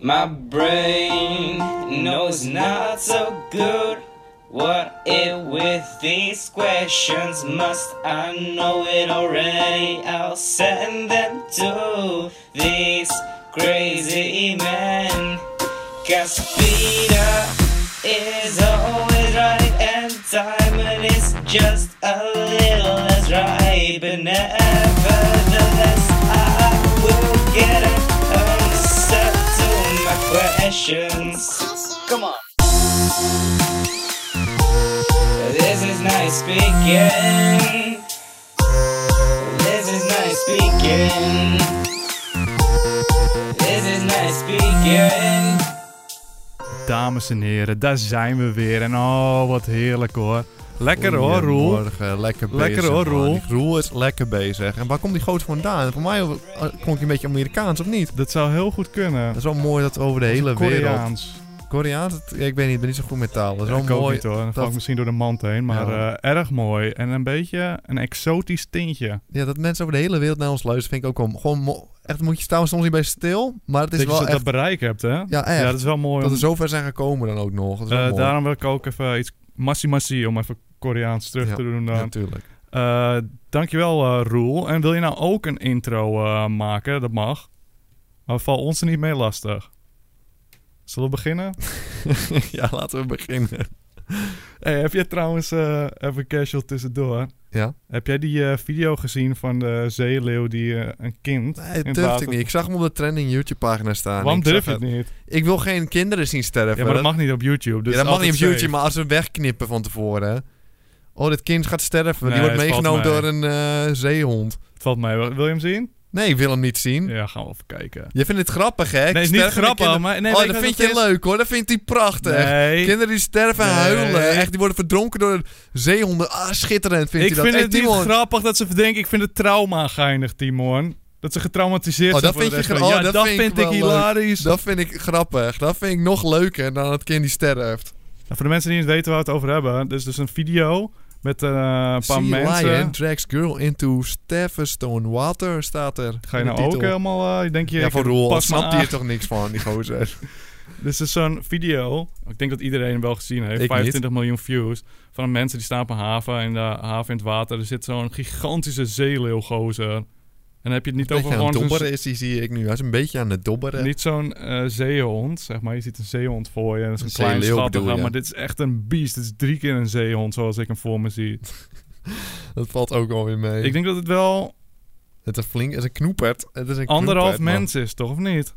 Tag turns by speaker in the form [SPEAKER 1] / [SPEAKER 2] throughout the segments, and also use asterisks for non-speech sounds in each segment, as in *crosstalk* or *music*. [SPEAKER 1] My brain knows not so good what it with these questions. Must I know it already? I'll send them to these crazy men. Cause Peter is always right, and Simon is just a little less right. But nevertheless, I will get an answer to my questions. Come on. This is nice speaking. This is nice speaking. This is nice speaking.
[SPEAKER 2] Dames en heren, daar zijn we weer. En oh, wat heerlijk hoor. Lekker hoor, Roel.
[SPEAKER 3] Goedemorgen, lekker bezig.
[SPEAKER 2] Lekker hoor,
[SPEAKER 3] man.
[SPEAKER 2] Roel.
[SPEAKER 3] Die Roel is lekker bezig. En waar komt die goot vandaan? Voor mij eh, klonk je een beetje Amerikaans, of niet?
[SPEAKER 2] Dat zou heel goed kunnen.
[SPEAKER 3] Dat is wel mooi dat over de hele wereld...
[SPEAKER 2] Koreaans.
[SPEAKER 3] Koreaans? Dat- Ik weet niet, ik ben niet zo goed met taal. Dat is wel
[SPEAKER 2] ik ook
[SPEAKER 3] mooi.
[SPEAKER 2] niet hoor. Dan val
[SPEAKER 3] dat-
[SPEAKER 2] ik misschien door de mand heen. Maar
[SPEAKER 3] Ja.
[SPEAKER 2] eh, erg mooi. En een beetje een exotisch tintje.
[SPEAKER 3] Ja, dat mensen over de hele wereld naar ons luisteren, vind ik ook wel gewoon... mo- Echt, moet je staan soms niet bij stil, maar het is
[SPEAKER 2] dat je
[SPEAKER 3] wel
[SPEAKER 2] dat
[SPEAKER 3] echt...
[SPEAKER 2] bereik hebt, hè?
[SPEAKER 3] Ja, echt.
[SPEAKER 2] dat is wel mooi.
[SPEAKER 3] Dat
[SPEAKER 2] om-
[SPEAKER 3] we zover zijn gekomen dan ook nog. Dat is wel
[SPEAKER 2] eh,
[SPEAKER 3] mooi.
[SPEAKER 2] daarom wil ik ook even iets massi massi om even Koreaans terug
[SPEAKER 3] Ja.
[SPEAKER 2] te doen. dan. *laughs*
[SPEAKER 3] Natuurlijk.
[SPEAKER 2] Eh, dankjewel, eh, Roel. En wil je nou ook een intro eh, maken? Dat mag. Maar val ons er niet mee lastig. Zullen we beginnen?
[SPEAKER 3] ja, laten we beginnen.
[SPEAKER 2] Hey, heb jij trouwens, eh, even casual tussendoor...
[SPEAKER 3] Ja?
[SPEAKER 2] Heb jij die eh, video gezien van de zeeleeuw die eh, een kind...
[SPEAKER 3] Nee,
[SPEAKER 2] in
[SPEAKER 3] dat
[SPEAKER 2] het
[SPEAKER 3] durfde
[SPEAKER 2] water-
[SPEAKER 3] ik niet. Ik zag hem op de trending YouTube-pagina staan.
[SPEAKER 2] Waarom
[SPEAKER 3] Ah, Ik zag
[SPEAKER 2] durf je het
[SPEAKER 3] het.
[SPEAKER 2] niet?
[SPEAKER 3] Ik wil geen kinderen zien sterven.
[SPEAKER 2] Ja, maar dat mag niet op YouTube. Dus
[SPEAKER 3] ja, dat mag niet op
[SPEAKER 2] altijd
[SPEAKER 3] YouTube,
[SPEAKER 2] safe.
[SPEAKER 3] maar als we wegknippen van tevoren. hè. Oh, dit kind gaat sterven.
[SPEAKER 2] Nee,
[SPEAKER 3] Die wordt
[SPEAKER 2] het valt
[SPEAKER 3] meegenomen
[SPEAKER 2] mee.
[SPEAKER 3] door een eh, zeehond.
[SPEAKER 2] Het valt mij wel. Wil je hem zien?
[SPEAKER 3] Nee, ik wil hem niet zien.
[SPEAKER 2] Ja, gaan we even kijken.
[SPEAKER 3] Je vindt het grappig, hè?
[SPEAKER 2] Nee, is niet
[SPEAKER 3] Stervende
[SPEAKER 2] grappig,
[SPEAKER 3] kinderen-
[SPEAKER 2] maar... Nee,
[SPEAKER 3] oh, dat vind je leuk, hoor. Dat vindt hij prachtig.
[SPEAKER 2] Nee,
[SPEAKER 3] Kinderen die sterven
[SPEAKER 2] Nee.
[SPEAKER 3] huilen. Echt, die worden verdronken door zeehonden. Ah, schitterend vindt
[SPEAKER 2] ik
[SPEAKER 3] hij dat.
[SPEAKER 2] vind
[SPEAKER 3] Hey,
[SPEAKER 2] het niet
[SPEAKER 3] Timon.
[SPEAKER 2] grappig dat ze verdenken. Ik vind het trauma geinig, Timon. Dat ze getraumatiseerd
[SPEAKER 3] Oh,
[SPEAKER 2] zijn.
[SPEAKER 3] dat
[SPEAKER 2] voor de
[SPEAKER 3] vind je
[SPEAKER 2] rest van-
[SPEAKER 3] gra-
[SPEAKER 2] Ja,
[SPEAKER 3] oh,
[SPEAKER 2] dat vind ik
[SPEAKER 3] wel leuk.
[SPEAKER 2] hilarisch.
[SPEAKER 3] Dat vind ik grappig. Dat vind ik nog leuker dan het kind die sterft.
[SPEAKER 2] Nou, voor de mensen die niet weten waar we het over hebben. Dus, dus een video met eh, een paar
[SPEAKER 3] sea
[SPEAKER 2] mensen.
[SPEAKER 3] Lion drags girl into Stone water, staat er.
[SPEAKER 2] Ga je
[SPEAKER 3] in de
[SPEAKER 2] nou ook
[SPEAKER 3] titel.
[SPEAKER 2] helemaal... eh, ik denk je,
[SPEAKER 3] Ja,
[SPEAKER 2] ik
[SPEAKER 3] voor Roel.
[SPEAKER 2] pas
[SPEAKER 3] Pas
[SPEAKER 2] me
[SPEAKER 3] snapt hij
[SPEAKER 2] aan.
[SPEAKER 3] er toch niks van, die gozer.
[SPEAKER 2] Dus het is zo'n video. Ik denk dat iedereen hem wel gezien heeft.
[SPEAKER 3] Ik
[SPEAKER 2] 25 miljoen views. Van mensen die staan op een haven. In de haven in het water. Er zit zo'n gigantische zeeleeuwgozer. En dan heb je het niet
[SPEAKER 3] Een beetje
[SPEAKER 2] over
[SPEAKER 3] aan het
[SPEAKER 2] gewoon zo'n-
[SPEAKER 3] dobberen is hij, zie ik nu. Hij is een beetje aan het dobberen.
[SPEAKER 2] Niet zo'n eh, zeehond, zeg maar. Je ziet een zeehond voor je. en Dat
[SPEAKER 3] Een
[SPEAKER 2] is een klein
[SPEAKER 3] zeeleeuw
[SPEAKER 2] schattige.
[SPEAKER 3] bedoel je?
[SPEAKER 2] Maar dit is echt een beest. Dit is drie keer een zeehond, zoals ik hem voor me zie.
[SPEAKER 3] Dat valt ook alweer mee.
[SPEAKER 2] Ik denk dat het wel
[SPEAKER 3] Het is een flink, het is een knoepert. Het is een
[SPEAKER 2] anderhalf
[SPEAKER 3] knoepert, man.
[SPEAKER 2] mens is, toch? Of niet?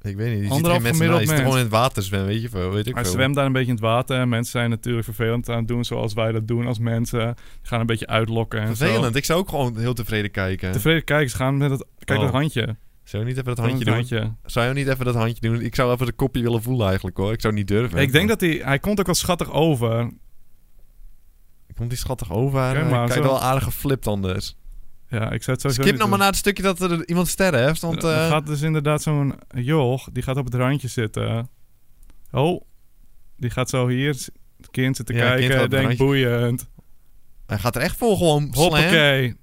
[SPEAKER 3] Ik weet niet, die ziet
[SPEAKER 2] Anderhalf
[SPEAKER 3] geen mensen na.
[SPEAKER 2] gemiddeld
[SPEAKER 3] Hij zit
[SPEAKER 2] mens.
[SPEAKER 3] gewoon in het water zwemmen, weet je veel. Weet ik
[SPEAKER 2] Hij
[SPEAKER 3] veel.
[SPEAKER 2] zwemt daar een beetje in het water. En mensen zijn natuurlijk vervelend aan het doen zoals wij dat doen als mensen. Die gaan een beetje uitlokken en
[SPEAKER 3] Vervelend.
[SPEAKER 2] zo.
[SPEAKER 3] Ik zou ook gewoon heel tevreden kijken.
[SPEAKER 2] Tevreden kijkers gaan met dat... Kijk,
[SPEAKER 3] Oh.
[SPEAKER 2] dat handje.
[SPEAKER 3] Zou je niet even dat handje doen?
[SPEAKER 2] handje.
[SPEAKER 3] Zou je niet even dat handje doen? Ik zou even de kopje willen voelen eigenlijk, hoor. Ik zou niet durven.
[SPEAKER 2] Ik denk dat hij... Hij komt ook wel schattig over.
[SPEAKER 3] Komt die schattig over?
[SPEAKER 2] Kijk
[SPEAKER 3] Hij
[SPEAKER 2] maar,
[SPEAKER 3] kijkt
[SPEAKER 2] zo.
[SPEAKER 3] wel aardig geflipt anders.
[SPEAKER 2] Ja, ik zou het sowieso
[SPEAKER 3] Skip
[SPEAKER 2] niet
[SPEAKER 3] nog maar
[SPEAKER 2] doen.
[SPEAKER 3] naar het stukje dat er iemand sterft. Want,
[SPEAKER 2] Er- er
[SPEAKER 3] eh,
[SPEAKER 2] gaat dus inderdaad zo'n joch, die gaat op het randje zitten. Oh, die gaat zo hier s- het kind zitten
[SPEAKER 3] Ja, het kind
[SPEAKER 2] kijken.
[SPEAKER 3] gaat
[SPEAKER 2] en
[SPEAKER 3] op het
[SPEAKER 2] denkt boeiend.
[SPEAKER 3] Hij gaat er echt voor gewoon slam.
[SPEAKER 2] Hoppakee.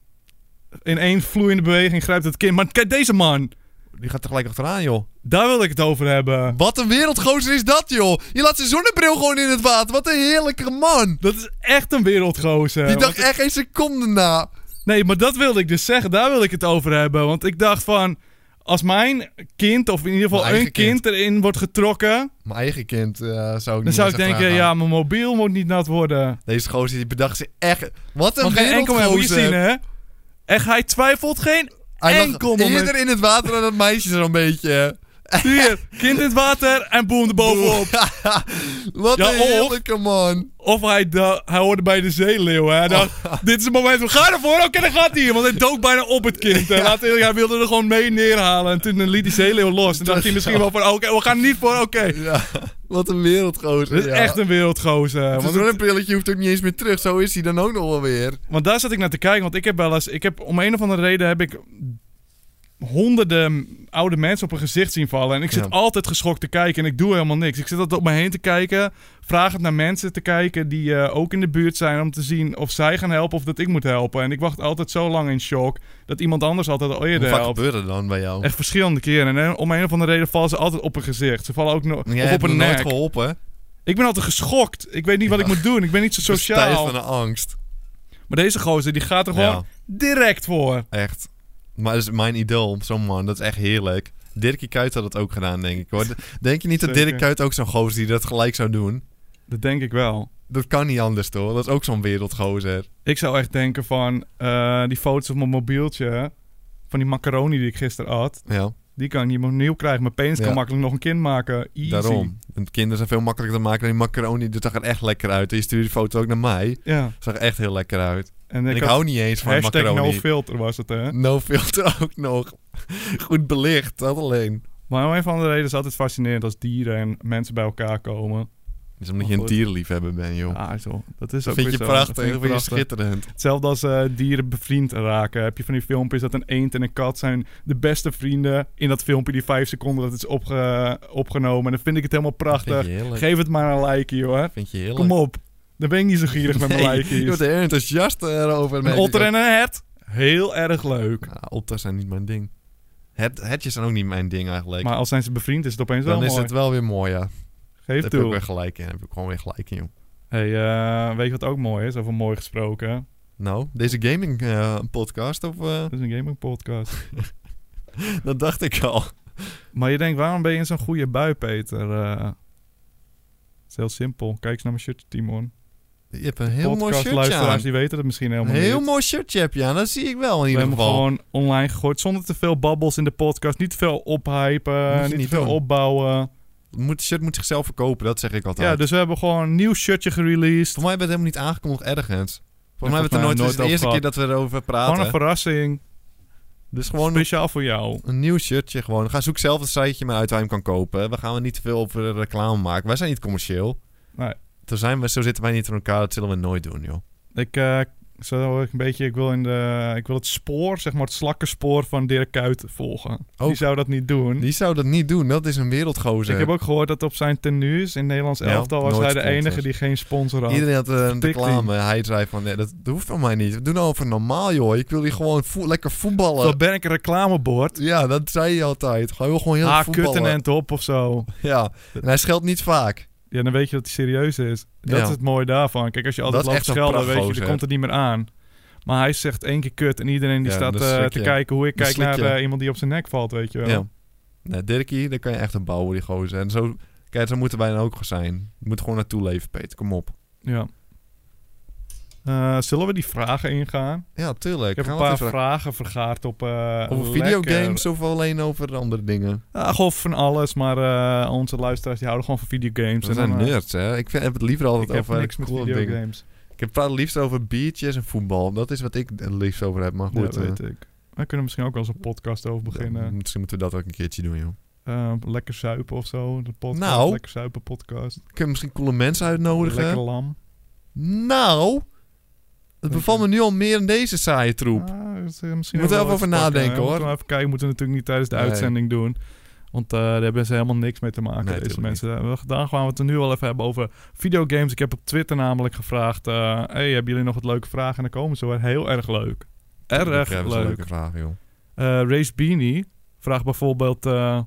[SPEAKER 2] In één vloeiende beweging grijpt het kind. Maar kijk deze man,
[SPEAKER 3] Die gaat er gelijk achteraan, joh.
[SPEAKER 2] daar wil ik het over hebben.
[SPEAKER 3] Wat een wereldgozer is dat, joh. Je laat zijn zonnebril gewoon in het water. Wat een heerlijke man.
[SPEAKER 2] Dat is echt een wereldgozer.
[SPEAKER 3] Die dacht
[SPEAKER 2] Want-
[SPEAKER 3] echt geen seconde na.
[SPEAKER 2] Nee, maar dat wilde ik dus zeggen. Daar wil ik het over hebben. Want ik dacht van, als mijn kind, of in ieder geval
[SPEAKER 3] Mijn
[SPEAKER 2] een
[SPEAKER 3] eigen Mm,
[SPEAKER 2] kind, erin wordt getrokken...
[SPEAKER 3] Mijn eigen kind eh, zou ik
[SPEAKER 2] dan
[SPEAKER 3] niet
[SPEAKER 2] zou ik
[SPEAKER 3] eens achteraan
[SPEAKER 2] denken,
[SPEAKER 3] gaan.
[SPEAKER 2] ja, mijn mobiel moet niet nat worden.
[SPEAKER 3] Deze gozer die bedacht zich echt... Wat een
[SPEAKER 2] Maar geen enkel moment
[SPEAKER 3] wereldgozer.
[SPEAKER 2] zien, hè? En hij twijfelt
[SPEAKER 3] *laughs*
[SPEAKER 2] geen
[SPEAKER 3] Hij lag
[SPEAKER 2] enkel
[SPEAKER 3] eerder
[SPEAKER 2] moment.
[SPEAKER 3] in het water dan dat meisje zo'n beetje.
[SPEAKER 2] Hier, kind in het water en boem erbovenop.
[SPEAKER 3] Wat
[SPEAKER 2] Ja,
[SPEAKER 3] een
[SPEAKER 2] of-
[SPEAKER 3] heerlijke man.
[SPEAKER 2] Of hij, da- hij hoorde bij de zeeleeuw.
[SPEAKER 3] Oh.
[SPEAKER 2] hè. Hij dacht, *laughs* dit is het moment. We gaan ervoor. Oké, dan gaat hij. Want hij dook bijna op het kind. hè. Laat eerlijk, hij wilde er gewoon mee neerhalen. En toen liet die zeeleeuw los. En dacht
[SPEAKER 3] Dus-
[SPEAKER 2] hij misschien wel van, oké, we gaan er niet voor. Oké,
[SPEAKER 3] Ja, wat een wereldgozer.
[SPEAKER 2] dit is
[SPEAKER 3] ja.
[SPEAKER 2] echt een wereldgozer.
[SPEAKER 3] Het
[SPEAKER 2] Want, het-
[SPEAKER 3] zonnebrilletje hoeft ook niet eens meer terug. Zo is hij dan ook nog wel weer.
[SPEAKER 2] want daar zat ik naar te kijken. Want ik heb wel eens, ik heb, om een of andere reden heb ik... honderden oude mensen op een gezicht zien vallen. En ik zit
[SPEAKER 3] Ja.
[SPEAKER 2] altijd geschokt te kijken en ik doe helemaal niks. Ik zit altijd op me heen te kijken, vragend naar mensen te kijken die eh, ook in de buurt zijn... om te zien of zij gaan helpen of dat ik moet helpen. En ik wacht altijd zo lang in shock dat iemand anders altijd al
[SPEAKER 3] Hoe
[SPEAKER 2] eerder
[SPEAKER 3] vaak
[SPEAKER 2] helpt.
[SPEAKER 3] gebeurt het dan bij jou?
[SPEAKER 2] Echt verschillende keren. En eh, om een of andere reden vallen ze altijd op een gezicht. Ze vallen ook nog
[SPEAKER 3] Jij
[SPEAKER 2] op
[SPEAKER 3] hebt
[SPEAKER 2] een
[SPEAKER 3] me nooit
[SPEAKER 2] nek.
[SPEAKER 3] geholpen.
[SPEAKER 2] Ik ben altijd geschokt. Ik weet niet wat ik moet doen. Ik ben niet zo
[SPEAKER 3] *laughs* Stijf
[SPEAKER 2] sociaal.
[SPEAKER 3] Dus van de angst.
[SPEAKER 2] Maar deze gozer die gaat er gewoon
[SPEAKER 3] Ja.
[SPEAKER 2] direct voor.
[SPEAKER 3] Echt. Maar dat is mijn idool, zo'n man. Dat is echt heerlijk. Dirkie Kuyt had het ook gedaan, denk
[SPEAKER 2] *laughs*
[SPEAKER 3] ik. Hoor. Denk je niet dat
[SPEAKER 2] Zeker.
[SPEAKER 3] Dirk Kuyt ook zo'n gozer die dat gelijk zou doen?
[SPEAKER 2] Dat denk ik wel.
[SPEAKER 3] Dat kan niet anders, toch? Dat is ook zo'n wereldgozer.
[SPEAKER 2] Ik zou echt denken van eh, die foto's op mijn mobieltje. Van die macaroni die ik gisteren at.
[SPEAKER 3] Ja,
[SPEAKER 2] Die kan ik niet meer opnieuw krijgen. Mijn penis
[SPEAKER 3] Ja.
[SPEAKER 2] kan makkelijk nog een kind maken. Easy.
[SPEAKER 3] daarom. En kinderen zijn veel makkelijker te maken dan die macaroni. Dus dat gaat echt lekker uit. En je stuurde die foto ook naar mij.
[SPEAKER 2] Ja.
[SPEAKER 3] Zag er echt heel lekker uit.
[SPEAKER 2] En
[SPEAKER 3] En
[SPEAKER 2] ik,
[SPEAKER 3] ik
[SPEAKER 2] had
[SPEAKER 3] hou niet eens van
[SPEAKER 2] hashtag no
[SPEAKER 3] macaroni.
[SPEAKER 2] filter was het hè.
[SPEAKER 3] No filter *laughs* ook nog. Goed belicht, dat alleen.
[SPEAKER 2] Maar om een van de reden is het altijd fascinerend als dieren en mensen bij elkaar komen.
[SPEAKER 3] Dat is omdat
[SPEAKER 2] Oh,
[SPEAKER 3] je een
[SPEAKER 2] goed.
[SPEAKER 3] dierenliefhebber bent, joh.
[SPEAKER 2] Ah, zo. Dat is
[SPEAKER 3] dat
[SPEAKER 2] ook
[SPEAKER 3] vind je
[SPEAKER 2] weer zo. Dat
[SPEAKER 3] prachtig, dat
[SPEAKER 2] vind
[SPEAKER 3] vind
[SPEAKER 2] ik
[SPEAKER 3] je
[SPEAKER 2] prachtig.
[SPEAKER 3] schitterend.
[SPEAKER 2] Hetzelfde als eh, dieren bevriend raken. Heb je van die filmpjes dat een eend en een kat zijn de beste vrienden. In dat filmpje die vijf seconden dat het is opge- opgenomen. En dan vind ik het helemaal
[SPEAKER 3] Vind
[SPEAKER 2] prachtig.
[SPEAKER 3] je heerlijk.
[SPEAKER 2] Geef het maar een likeje hoor.
[SPEAKER 3] Vind je heerlijk.
[SPEAKER 2] Kom op. Dan ben ik niet zo gierig met mijn
[SPEAKER 3] *laughs* Nee, Je
[SPEAKER 2] likejes.
[SPEAKER 3] wordt heel enthousiast eh, erover. merk
[SPEAKER 2] Een
[SPEAKER 3] ik
[SPEAKER 2] otter
[SPEAKER 3] ook.
[SPEAKER 2] en een hert. Heel erg leuk.
[SPEAKER 3] Nou, otters zijn niet mijn ding. Het, hetjes zijn ook niet mijn ding eigenlijk.
[SPEAKER 2] Maar als zijn ze bevriend is het opeens wel
[SPEAKER 3] Dan is
[SPEAKER 2] mooi.
[SPEAKER 3] het wel weer mooi, ja.
[SPEAKER 2] Geef
[SPEAKER 3] Daar heb ik ook
[SPEAKER 2] toe.
[SPEAKER 3] weer gelijk in. Daar heb ik gewoon weer gelijk in, joh.
[SPEAKER 2] Hey, eh, weet je wat ook mooi is? Over mooi gesproken.
[SPEAKER 3] Nou, deze gaming eh, podcast, of,
[SPEAKER 2] *laughs*
[SPEAKER 3] eh,
[SPEAKER 2] Dat is een gaming podcast.
[SPEAKER 3] dat dacht ik al.
[SPEAKER 2] maar je denkt, waarom ben je in zo'n goede bui, Peter? Eh, het is heel simpel. Kijk eens naar mijn shirtje, Timon.
[SPEAKER 3] Je hebt een heel mooi shirtje aan.
[SPEAKER 2] podcastluisteraars die weten het misschien
[SPEAKER 3] Een
[SPEAKER 2] helemaal
[SPEAKER 3] heel
[SPEAKER 2] niet.
[SPEAKER 3] mooi shirtje heb je aan. Dat zie ik wel in
[SPEAKER 2] We
[SPEAKER 3] ieder
[SPEAKER 2] hebben hem
[SPEAKER 3] geval.
[SPEAKER 2] gewoon online gegooid zonder te veel babbels in de podcast. Niet te veel
[SPEAKER 3] Moet
[SPEAKER 2] ophypen,
[SPEAKER 3] je
[SPEAKER 2] niet,
[SPEAKER 3] niet
[SPEAKER 2] te veel
[SPEAKER 3] doen.
[SPEAKER 2] opbouwen.
[SPEAKER 3] Moet, shirt moet zichzelf verkopen, dat zeg ik altijd.
[SPEAKER 2] Ja, dus we hebben gewoon een nieuw shirtje gereleased.
[SPEAKER 3] Voor mij hebben we het helemaal niet aangekondigd ergens. Voor
[SPEAKER 2] volgens
[SPEAKER 3] mij hebben we het er
[SPEAKER 2] mij
[SPEAKER 3] nooit... Het is
[SPEAKER 2] nooit
[SPEAKER 3] de eerste
[SPEAKER 2] over
[SPEAKER 3] keer dat we erover
[SPEAKER 2] Gewoon
[SPEAKER 3] praten.
[SPEAKER 2] een verrassing.
[SPEAKER 3] dus gewoon
[SPEAKER 2] Speciaal voor jou.
[SPEAKER 3] Een nieuw shirtje gewoon. Ga zoek zelf een siteje maar uit waar je hem kan kopen. We gaan er niet te veel over reclame maken. Wij zijn niet commercieel.
[SPEAKER 2] Nee.
[SPEAKER 3] Zo, zijn we, zo zitten wij niet in elkaar. Dat zullen we nooit doen, joh.
[SPEAKER 2] Ik, eh, zo een beetje, ik wil, in de, ik wil het spoor, zeg maar het slakkenspoor van Dirk Kuyt volgen. Die
[SPEAKER 3] Ook.
[SPEAKER 2] zou dat niet doen.
[SPEAKER 3] Oh. Die zou dat niet doen. Dat is een wereldgozer.
[SPEAKER 2] Ik heb ook gehoord dat op zijn tenues in Nederlands
[SPEAKER 3] Ja,
[SPEAKER 2] elftal was
[SPEAKER 3] nooit
[SPEAKER 2] hij de
[SPEAKER 3] sponsors.
[SPEAKER 2] enige die geen sponsor had.
[SPEAKER 3] Iedereen had eh, een
[SPEAKER 2] Vertikt
[SPEAKER 3] reclame. Hij zei van, nee, dat, dat hoeft van mij niet. We doen over normaal, joh. Ik wil hier gewoon vo- lekker voetballen.
[SPEAKER 2] Dan ben ik een reclamebord.
[SPEAKER 3] Ja, dat zei je altijd. Gewoon, wil gewoon heel
[SPEAKER 2] Ah,
[SPEAKER 3] voetballen.
[SPEAKER 2] kutten en top of zo.
[SPEAKER 3] Ja, en hij scheldt niet vaak.
[SPEAKER 2] Ja, dan weet je dat hij serieus is. Dat
[SPEAKER 3] Ja.
[SPEAKER 2] is het mooie daarvan. Kijk, als je altijd
[SPEAKER 3] Dat is
[SPEAKER 2] loopt
[SPEAKER 3] echt een
[SPEAKER 2] schelden, weet je,
[SPEAKER 3] prachtgozer.
[SPEAKER 2] dan komt het niet meer aan. Maar hij zegt één keer kut en iedereen die
[SPEAKER 3] Ja,
[SPEAKER 2] staat
[SPEAKER 3] dan
[SPEAKER 2] eh,
[SPEAKER 3] schrik
[SPEAKER 2] te
[SPEAKER 3] je.
[SPEAKER 2] kijken hoe ik
[SPEAKER 3] Dan
[SPEAKER 2] kijk
[SPEAKER 3] schrik
[SPEAKER 2] naar
[SPEAKER 3] je.
[SPEAKER 2] eh, iemand die op zijn nek valt, weet je wel.
[SPEAKER 3] Ja. Nee, Dirkie, daar kan je echt een bouwen, die gozer. En zo, kijk, zo moeten wij dan ook zijn. Je moet gewoon naartoe leven, Peter. Kom op.
[SPEAKER 2] Ja. Eh, zullen we die vragen ingaan?
[SPEAKER 3] Ja, tuurlijk.
[SPEAKER 2] Ik heb
[SPEAKER 3] Gaan
[SPEAKER 2] een
[SPEAKER 3] we
[SPEAKER 2] paar
[SPEAKER 3] even-
[SPEAKER 2] vragen vergaard op... eh lekker.
[SPEAKER 3] Over videogames of alleen over andere dingen?
[SPEAKER 2] Ja, gewoon van alles, maar eh, onze luisteraars die houden gewoon van videogames.
[SPEAKER 3] We
[SPEAKER 2] en
[SPEAKER 3] zijn
[SPEAKER 2] dan, eh,
[SPEAKER 3] nerds, hè? Ik vind, heb het liever altijd
[SPEAKER 2] Ik heb
[SPEAKER 3] over
[SPEAKER 2] niks met
[SPEAKER 3] coole dingen.
[SPEAKER 2] videogames.
[SPEAKER 3] Ik heb praat het liefst over biertjes en voetbal. Dat is wat ik het liefst over heb. Maar goed,
[SPEAKER 2] ja,
[SPEAKER 3] eh,
[SPEAKER 2] weet ik. Daar kunnen we misschien ook wel eens een podcast over beginnen.
[SPEAKER 3] eh, misschien moeten we dat ook een keertje doen, joh.
[SPEAKER 2] Eh, lekker zuipen of zo. De podcast,
[SPEAKER 3] Nou.
[SPEAKER 2] Lekker zuipen podcast.
[SPEAKER 3] Kunnen we misschien coole mensen uitnodigen?
[SPEAKER 2] Lekker lam.
[SPEAKER 3] Nou, het
[SPEAKER 2] Dank
[SPEAKER 3] bevalt
[SPEAKER 2] je.
[SPEAKER 3] me nu al meer in deze saaie troep.
[SPEAKER 2] Ah, dat is, eh, misschien
[SPEAKER 3] Moet
[SPEAKER 2] ook
[SPEAKER 3] er
[SPEAKER 2] wel iets te
[SPEAKER 3] even over
[SPEAKER 2] pakken,
[SPEAKER 3] nadenken,
[SPEAKER 2] hè.
[SPEAKER 3] hoor.
[SPEAKER 2] Moeten we even kijken. Moeten we natuurlijk niet tijdens de
[SPEAKER 3] Nee.
[SPEAKER 2] uitzending doen. Want eh, daar hebben ze helemaal niks mee te maken,
[SPEAKER 3] Nee,
[SPEAKER 2] deze
[SPEAKER 3] tuurlijk
[SPEAKER 2] mensen. We Daar gaan we het er nu wel even hebben over videogames. Ik heb op Twitter namelijk gevraagd... eh, hey, hebben jullie nog wat leuke vragen? En dan komen ze weer heel erg leuk.
[SPEAKER 3] Dat
[SPEAKER 2] Ah, Erg
[SPEAKER 3] is een
[SPEAKER 2] leuk.
[SPEAKER 3] leuke vraag, joh.
[SPEAKER 2] Eh, Race Beanie vraagt bijvoorbeeld... eh,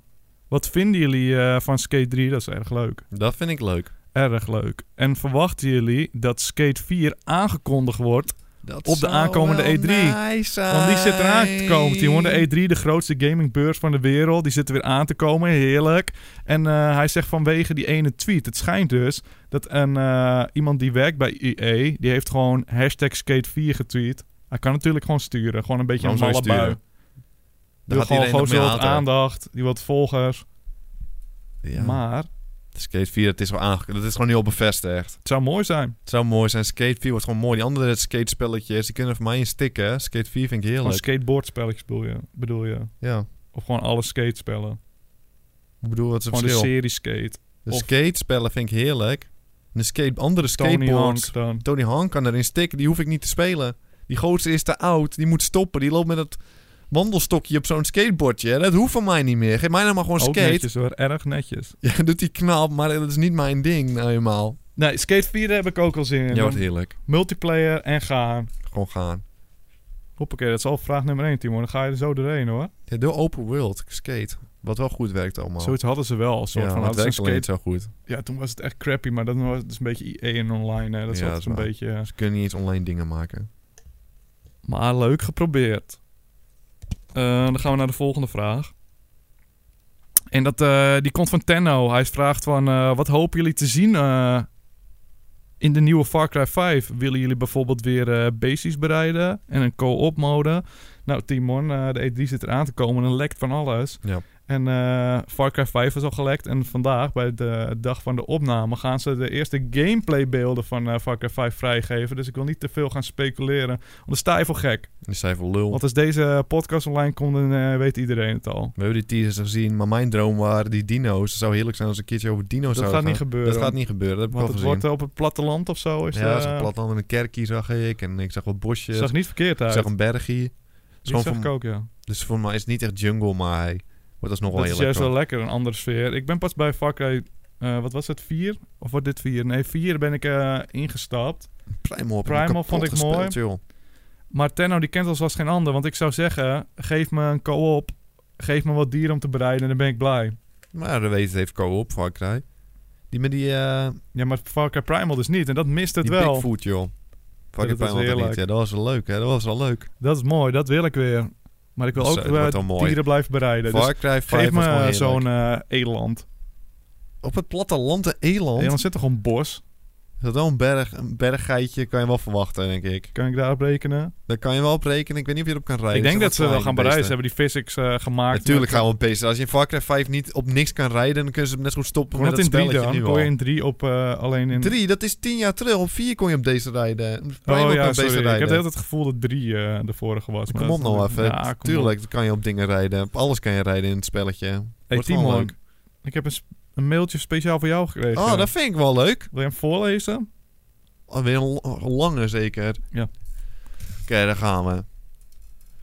[SPEAKER 2] wat vinden jullie eh, van Skate 3? Dat is erg leuk.
[SPEAKER 3] Dat vind ik leuk.
[SPEAKER 2] Erg leuk. En verwachten jullie dat Skate 4 aangekondigd wordt?
[SPEAKER 3] Dat
[SPEAKER 2] Op de
[SPEAKER 3] zou
[SPEAKER 2] aankomende
[SPEAKER 3] wel
[SPEAKER 2] E3.
[SPEAKER 3] nice
[SPEAKER 2] Want die zit eraan te
[SPEAKER 3] zijn.
[SPEAKER 2] komen, Timon. De E E3, de grootste gamingbeurs van de wereld. Die zit er weer aan te komen. Heerlijk. En eh, hij zegt vanwege die ene tweet. Het schijnt dus dat een, eh, iemand die werkt bij EA... die heeft gewoon hashtag Skate 4 getweet. Hij kan natuurlijk gewoon sturen. Gewoon een beetje
[SPEAKER 3] Waarom
[SPEAKER 2] een
[SPEAKER 3] zou je
[SPEAKER 2] malle bui.
[SPEAKER 3] sturen?
[SPEAKER 2] Die wil
[SPEAKER 3] gaat
[SPEAKER 2] gewoon, gewoon
[SPEAKER 3] iedereen nog mee
[SPEAKER 2] zo wat
[SPEAKER 3] haten.
[SPEAKER 2] aandacht. Die wat volgers.
[SPEAKER 3] Ja.
[SPEAKER 2] Maar
[SPEAKER 3] Skate 4, het is wel aangekondigd. Het is gewoon niet al bevestigd.
[SPEAKER 2] het zou mooi zijn.
[SPEAKER 3] Het zou mooi zijn. Skate 4 wordt gewoon mooi. Die andere skatespelletjes, die kunnen er voor mij in stikken. Skate 4 vind ik
[SPEAKER 2] Gewoon
[SPEAKER 3] heerlijk.
[SPEAKER 2] skateboardspelletjes bedoel je, bedoel je.
[SPEAKER 3] Ja.
[SPEAKER 2] Of gewoon alle skatespellen.
[SPEAKER 3] Ik bedoel, wat is het
[SPEAKER 2] Gewoon de
[SPEAKER 3] verschil?
[SPEAKER 2] serie skate.
[SPEAKER 3] De,
[SPEAKER 2] of-
[SPEAKER 3] skatespellen vind ik heerlijk. En de skate, andere
[SPEAKER 2] Tony
[SPEAKER 3] skateboards.
[SPEAKER 2] Hawk dan.
[SPEAKER 3] Tony Hawk kan erin stikken. Die hoef ik niet te spelen. Die gozer is te oud. Die moet stoppen. Die loopt met dat wandelstokje op zo'n skateboardje. hè. Dat hoeft van mij niet meer. Geef mij nou maar gewoon
[SPEAKER 2] Ook
[SPEAKER 3] skate.
[SPEAKER 2] netjes hoor, erg netjes.
[SPEAKER 3] Ja, doet die knap, maar dat is niet mijn ding nou eenmaal.
[SPEAKER 2] Nee, Skate 4 heb ik ook al zin in.
[SPEAKER 3] Ja, wat
[SPEAKER 2] Dan
[SPEAKER 3] heerlijk.
[SPEAKER 2] Multiplayer en gaan.
[SPEAKER 3] Gewoon gaan.
[SPEAKER 2] Hoppakee, dat is al vraag nummer 1, Timo. Dan ga je er zo doorheen hoor.
[SPEAKER 3] Ja, door open world, skate. Wat wel goed werkt allemaal.
[SPEAKER 2] Zoiets hadden ze wel. Een soort
[SPEAKER 3] ja,
[SPEAKER 2] van
[SPEAKER 3] maar het
[SPEAKER 2] hadden ze
[SPEAKER 3] werkt
[SPEAKER 2] een
[SPEAKER 3] alleen
[SPEAKER 2] skate
[SPEAKER 3] niet zo goed.
[SPEAKER 2] Ja, toen was het echt crappy, maar dat was dus een beetje EA en online. Hè. Dat is
[SPEAKER 3] Ja, dat
[SPEAKER 2] altijd
[SPEAKER 3] is
[SPEAKER 2] een
[SPEAKER 3] waar.
[SPEAKER 2] beetje... eh,
[SPEAKER 3] Ze kunnen niet eens online dingen maken.
[SPEAKER 2] Maar leuk geprobeerd. Eh, dan gaan we naar de volgende vraag. En dat, eh, die komt van Tenno. Hij vraagt van, eh, wat hopen jullie te zien eh, in de nieuwe Far Cry 5? Willen jullie bijvoorbeeld weer eh bases bereiden en een co-op mode? Nou Timon, eh, de E3 zit eraan te komen en lekt van alles.
[SPEAKER 3] Ja.
[SPEAKER 2] En eh Far Cry 5 is al gelekt. En vandaag, bij de dag van de opname, gaan ze de eerste gameplaybeelden van eh Far Cry 5 vrijgeven. Dus ik wil niet te veel gaan speculeren. Want dan sta je voor gek.
[SPEAKER 3] Die zijn voor lul.
[SPEAKER 2] Want als deze podcast online komt, dan eh, weet iedereen het al.
[SPEAKER 3] We hebben die teasers gezien, maar mijn droom waren die dino's. Het zou heerlijk zijn als we een keertje over
[SPEAKER 2] Dat
[SPEAKER 3] dino's zouden
[SPEAKER 2] gaat
[SPEAKER 3] gaan.
[SPEAKER 2] niet gebeuren.
[SPEAKER 3] Dat gaat niet gebeuren, dat heb ik
[SPEAKER 2] Want
[SPEAKER 3] al
[SPEAKER 2] het
[SPEAKER 3] gezien.
[SPEAKER 2] wordt op het platteland of zo. Is
[SPEAKER 3] ja, dat
[SPEAKER 2] eh,
[SPEAKER 3] is een platteland en een kerkie zag ik. En ik zag wat bosjes.
[SPEAKER 2] zag niet verkeerd
[SPEAKER 3] ik
[SPEAKER 2] uit.
[SPEAKER 3] zag een bergie. Het
[SPEAKER 2] Die
[SPEAKER 3] is gewoon
[SPEAKER 2] zag
[SPEAKER 3] voor-
[SPEAKER 2] ik ook, ja.
[SPEAKER 3] Dus voor mij is het niet echt jungle, maar hij wordt alsnog wel
[SPEAKER 2] Dat is
[SPEAKER 3] heel
[SPEAKER 2] juist
[SPEAKER 3] lekker.
[SPEAKER 2] wel lekker, een andere sfeer. Ik ben pas bij Far Cry, eh, wat was het, 4? Of wordt dit 4? Nee, 4 ben ik eh, ingestapt.
[SPEAKER 3] Primal, heb
[SPEAKER 2] Primal
[SPEAKER 3] kapot
[SPEAKER 2] vond ik
[SPEAKER 3] gespeeld,
[SPEAKER 2] mooi.
[SPEAKER 3] joh.
[SPEAKER 2] Maar Tenno die kent ons als geen ander. Want ik zou zeggen, geef me een co-op. Geef me wat dieren om te bereiden en dan ben ik blij.
[SPEAKER 3] Maar dat weet het heeft co-op, Far Cry. Die met die, eh
[SPEAKER 2] Ja, maar Far Cry Primal dus niet. En dat mist het
[SPEAKER 3] die
[SPEAKER 2] wel.
[SPEAKER 3] Bigfoot, joh. Far Cry
[SPEAKER 2] dat was
[SPEAKER 3] Primal had dat
[SPEAKER 2] heerlijk.
[SPEAKER 3] niet. Ja, dat was wel leuk, hè. Dat was wel leuk.
[SPEAKER 2] Dat is mooi, dat wil ik weer. Maar ik wil
[SPEAKER 3] Dus,
[SPEAKER 2] ook
[SPEAKER 3] eh, het wordt
[SPEAKER 2] eh,
[SPEAKER 3] wel mooi.
[SPEAKER 2] dieren blijven bereiden. Dus
[SPEAKER 3] Far Cry 5
[SPEAKER 2] geef
[SPEAKER 3] was gewoon
[SPEAKER 2] me
[SPEAKER 3] heerlijk.
[SPEAKER 2] zo'n eh eland.
[SPEAKER 3] Op het platteland, de eland.
[SPEAKER 2] Eland zit toch een bos?
[SPEAKER 3] Dat is wel een, berg, een berggeitje, kan je wel verwachten, denk ik.
[SPEAKER 2] Kan ik daarop rekenen?
[SPEAKER 3] Daar kan je wel op rekenen. Ik weet niet of je erop kan rijden.
[SPEAKER 2] ik denk dat ze wel gaan bereiden. Ze
[SPEAKER 3] bereiden.
[SPEAKER 2] hebben die physics eh, gemaakt.
[SPEAKER 3] Natuurlijk gaan we op beesten. Als je in Far Cry 5 niet op niks kan rijden, dan kunnen ze net zo goed stoppen
[SPEAKER 2] Kon
[SPEAKER 3] met
[SPEAKER 2] dat
[SPEAKER 3] het
[SPEAKER 2] in drie
[SPEAKER 3] spelletje
[SPEAKER 2] dan?
[SPEAKER 3] nu
[SPEAKER 2] Kon je
[SPEAKER 3] al.
[SPEAKER 2] in drie op eh, alleen in...
[SPEAKER 3] Drie, dat is tien jaar terug. Op vier kon je op deze rijden. Op Primal
[SPEAKER 2] Oh
[SPEAKER 3] kon je
[SPEAKER 2] ja,
[SPEAKER 3] op
[SPEAKER 2] sorry.
[SPEAKER 3] deze
[SPEAKER 2] Ik had
[SPEAKER 3] rijden.
[SPEAKER 2] altijd het gevoel dat drie eh, de vorige was. maar
[SPEAKER 3] Kom op
[SPEAKER 2] dat-
[SPEAKER 3] nou even.
[SPEAKER 2] Ja, kom op.
[SPEAKER 3] Tuurlijk, dan kan je op dingen rijden. Op alles kan je rijden in het spelletje.
[SPEAKER 2] Hey
[SPEAKER 3] Wordt wel
[SPEAKER 2] Timo,
[SPEAKER 3] leuk.
[SPEAKER 2] ik heb een, sp- een mailtje speciaal voor jou gekregen.
[SPEAKER 3] Oh, dat vind ik wel leuk.
[SPEAKER 2] Wil je hem voorlezen?
[SPEAKER 3] Oh, weer een l- lange zeker.
[SPEAKER 2] Ja.
[SPEAKER 3] Oké, daar gaan we.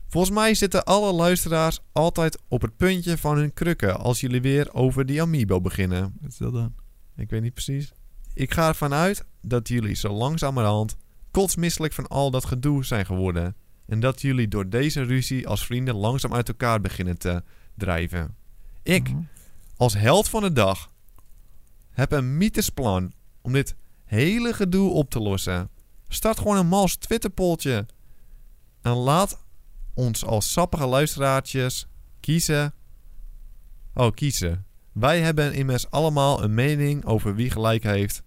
[SPEAKER 3] Volgens mij zitten alle luisteraars altijd op het puntje van hun krukken als jullie weer over die Amiibo beginnen.
[SPEAKER 2] Wat is dat dan?
[SPEAKER 3] Ik weet niet precies. Ik ga ervan uit dat jullie zo langzamerhand kotsmisselijk van al dat gedoe zijn geworden. En dat jullie door deze ruzie als vrienden langzaam uit elkaar beginnen te drijven. Ik, als held van de dag, heb een mythisch plan om dit hele gedoe op te lossen. Start gewoon een mals Twitterpoltje. En laat ons als sappige luisteraartjes kiezen. Oh, kiezen. Wij hebben immers allemaal een mening over wie gelijk heeft.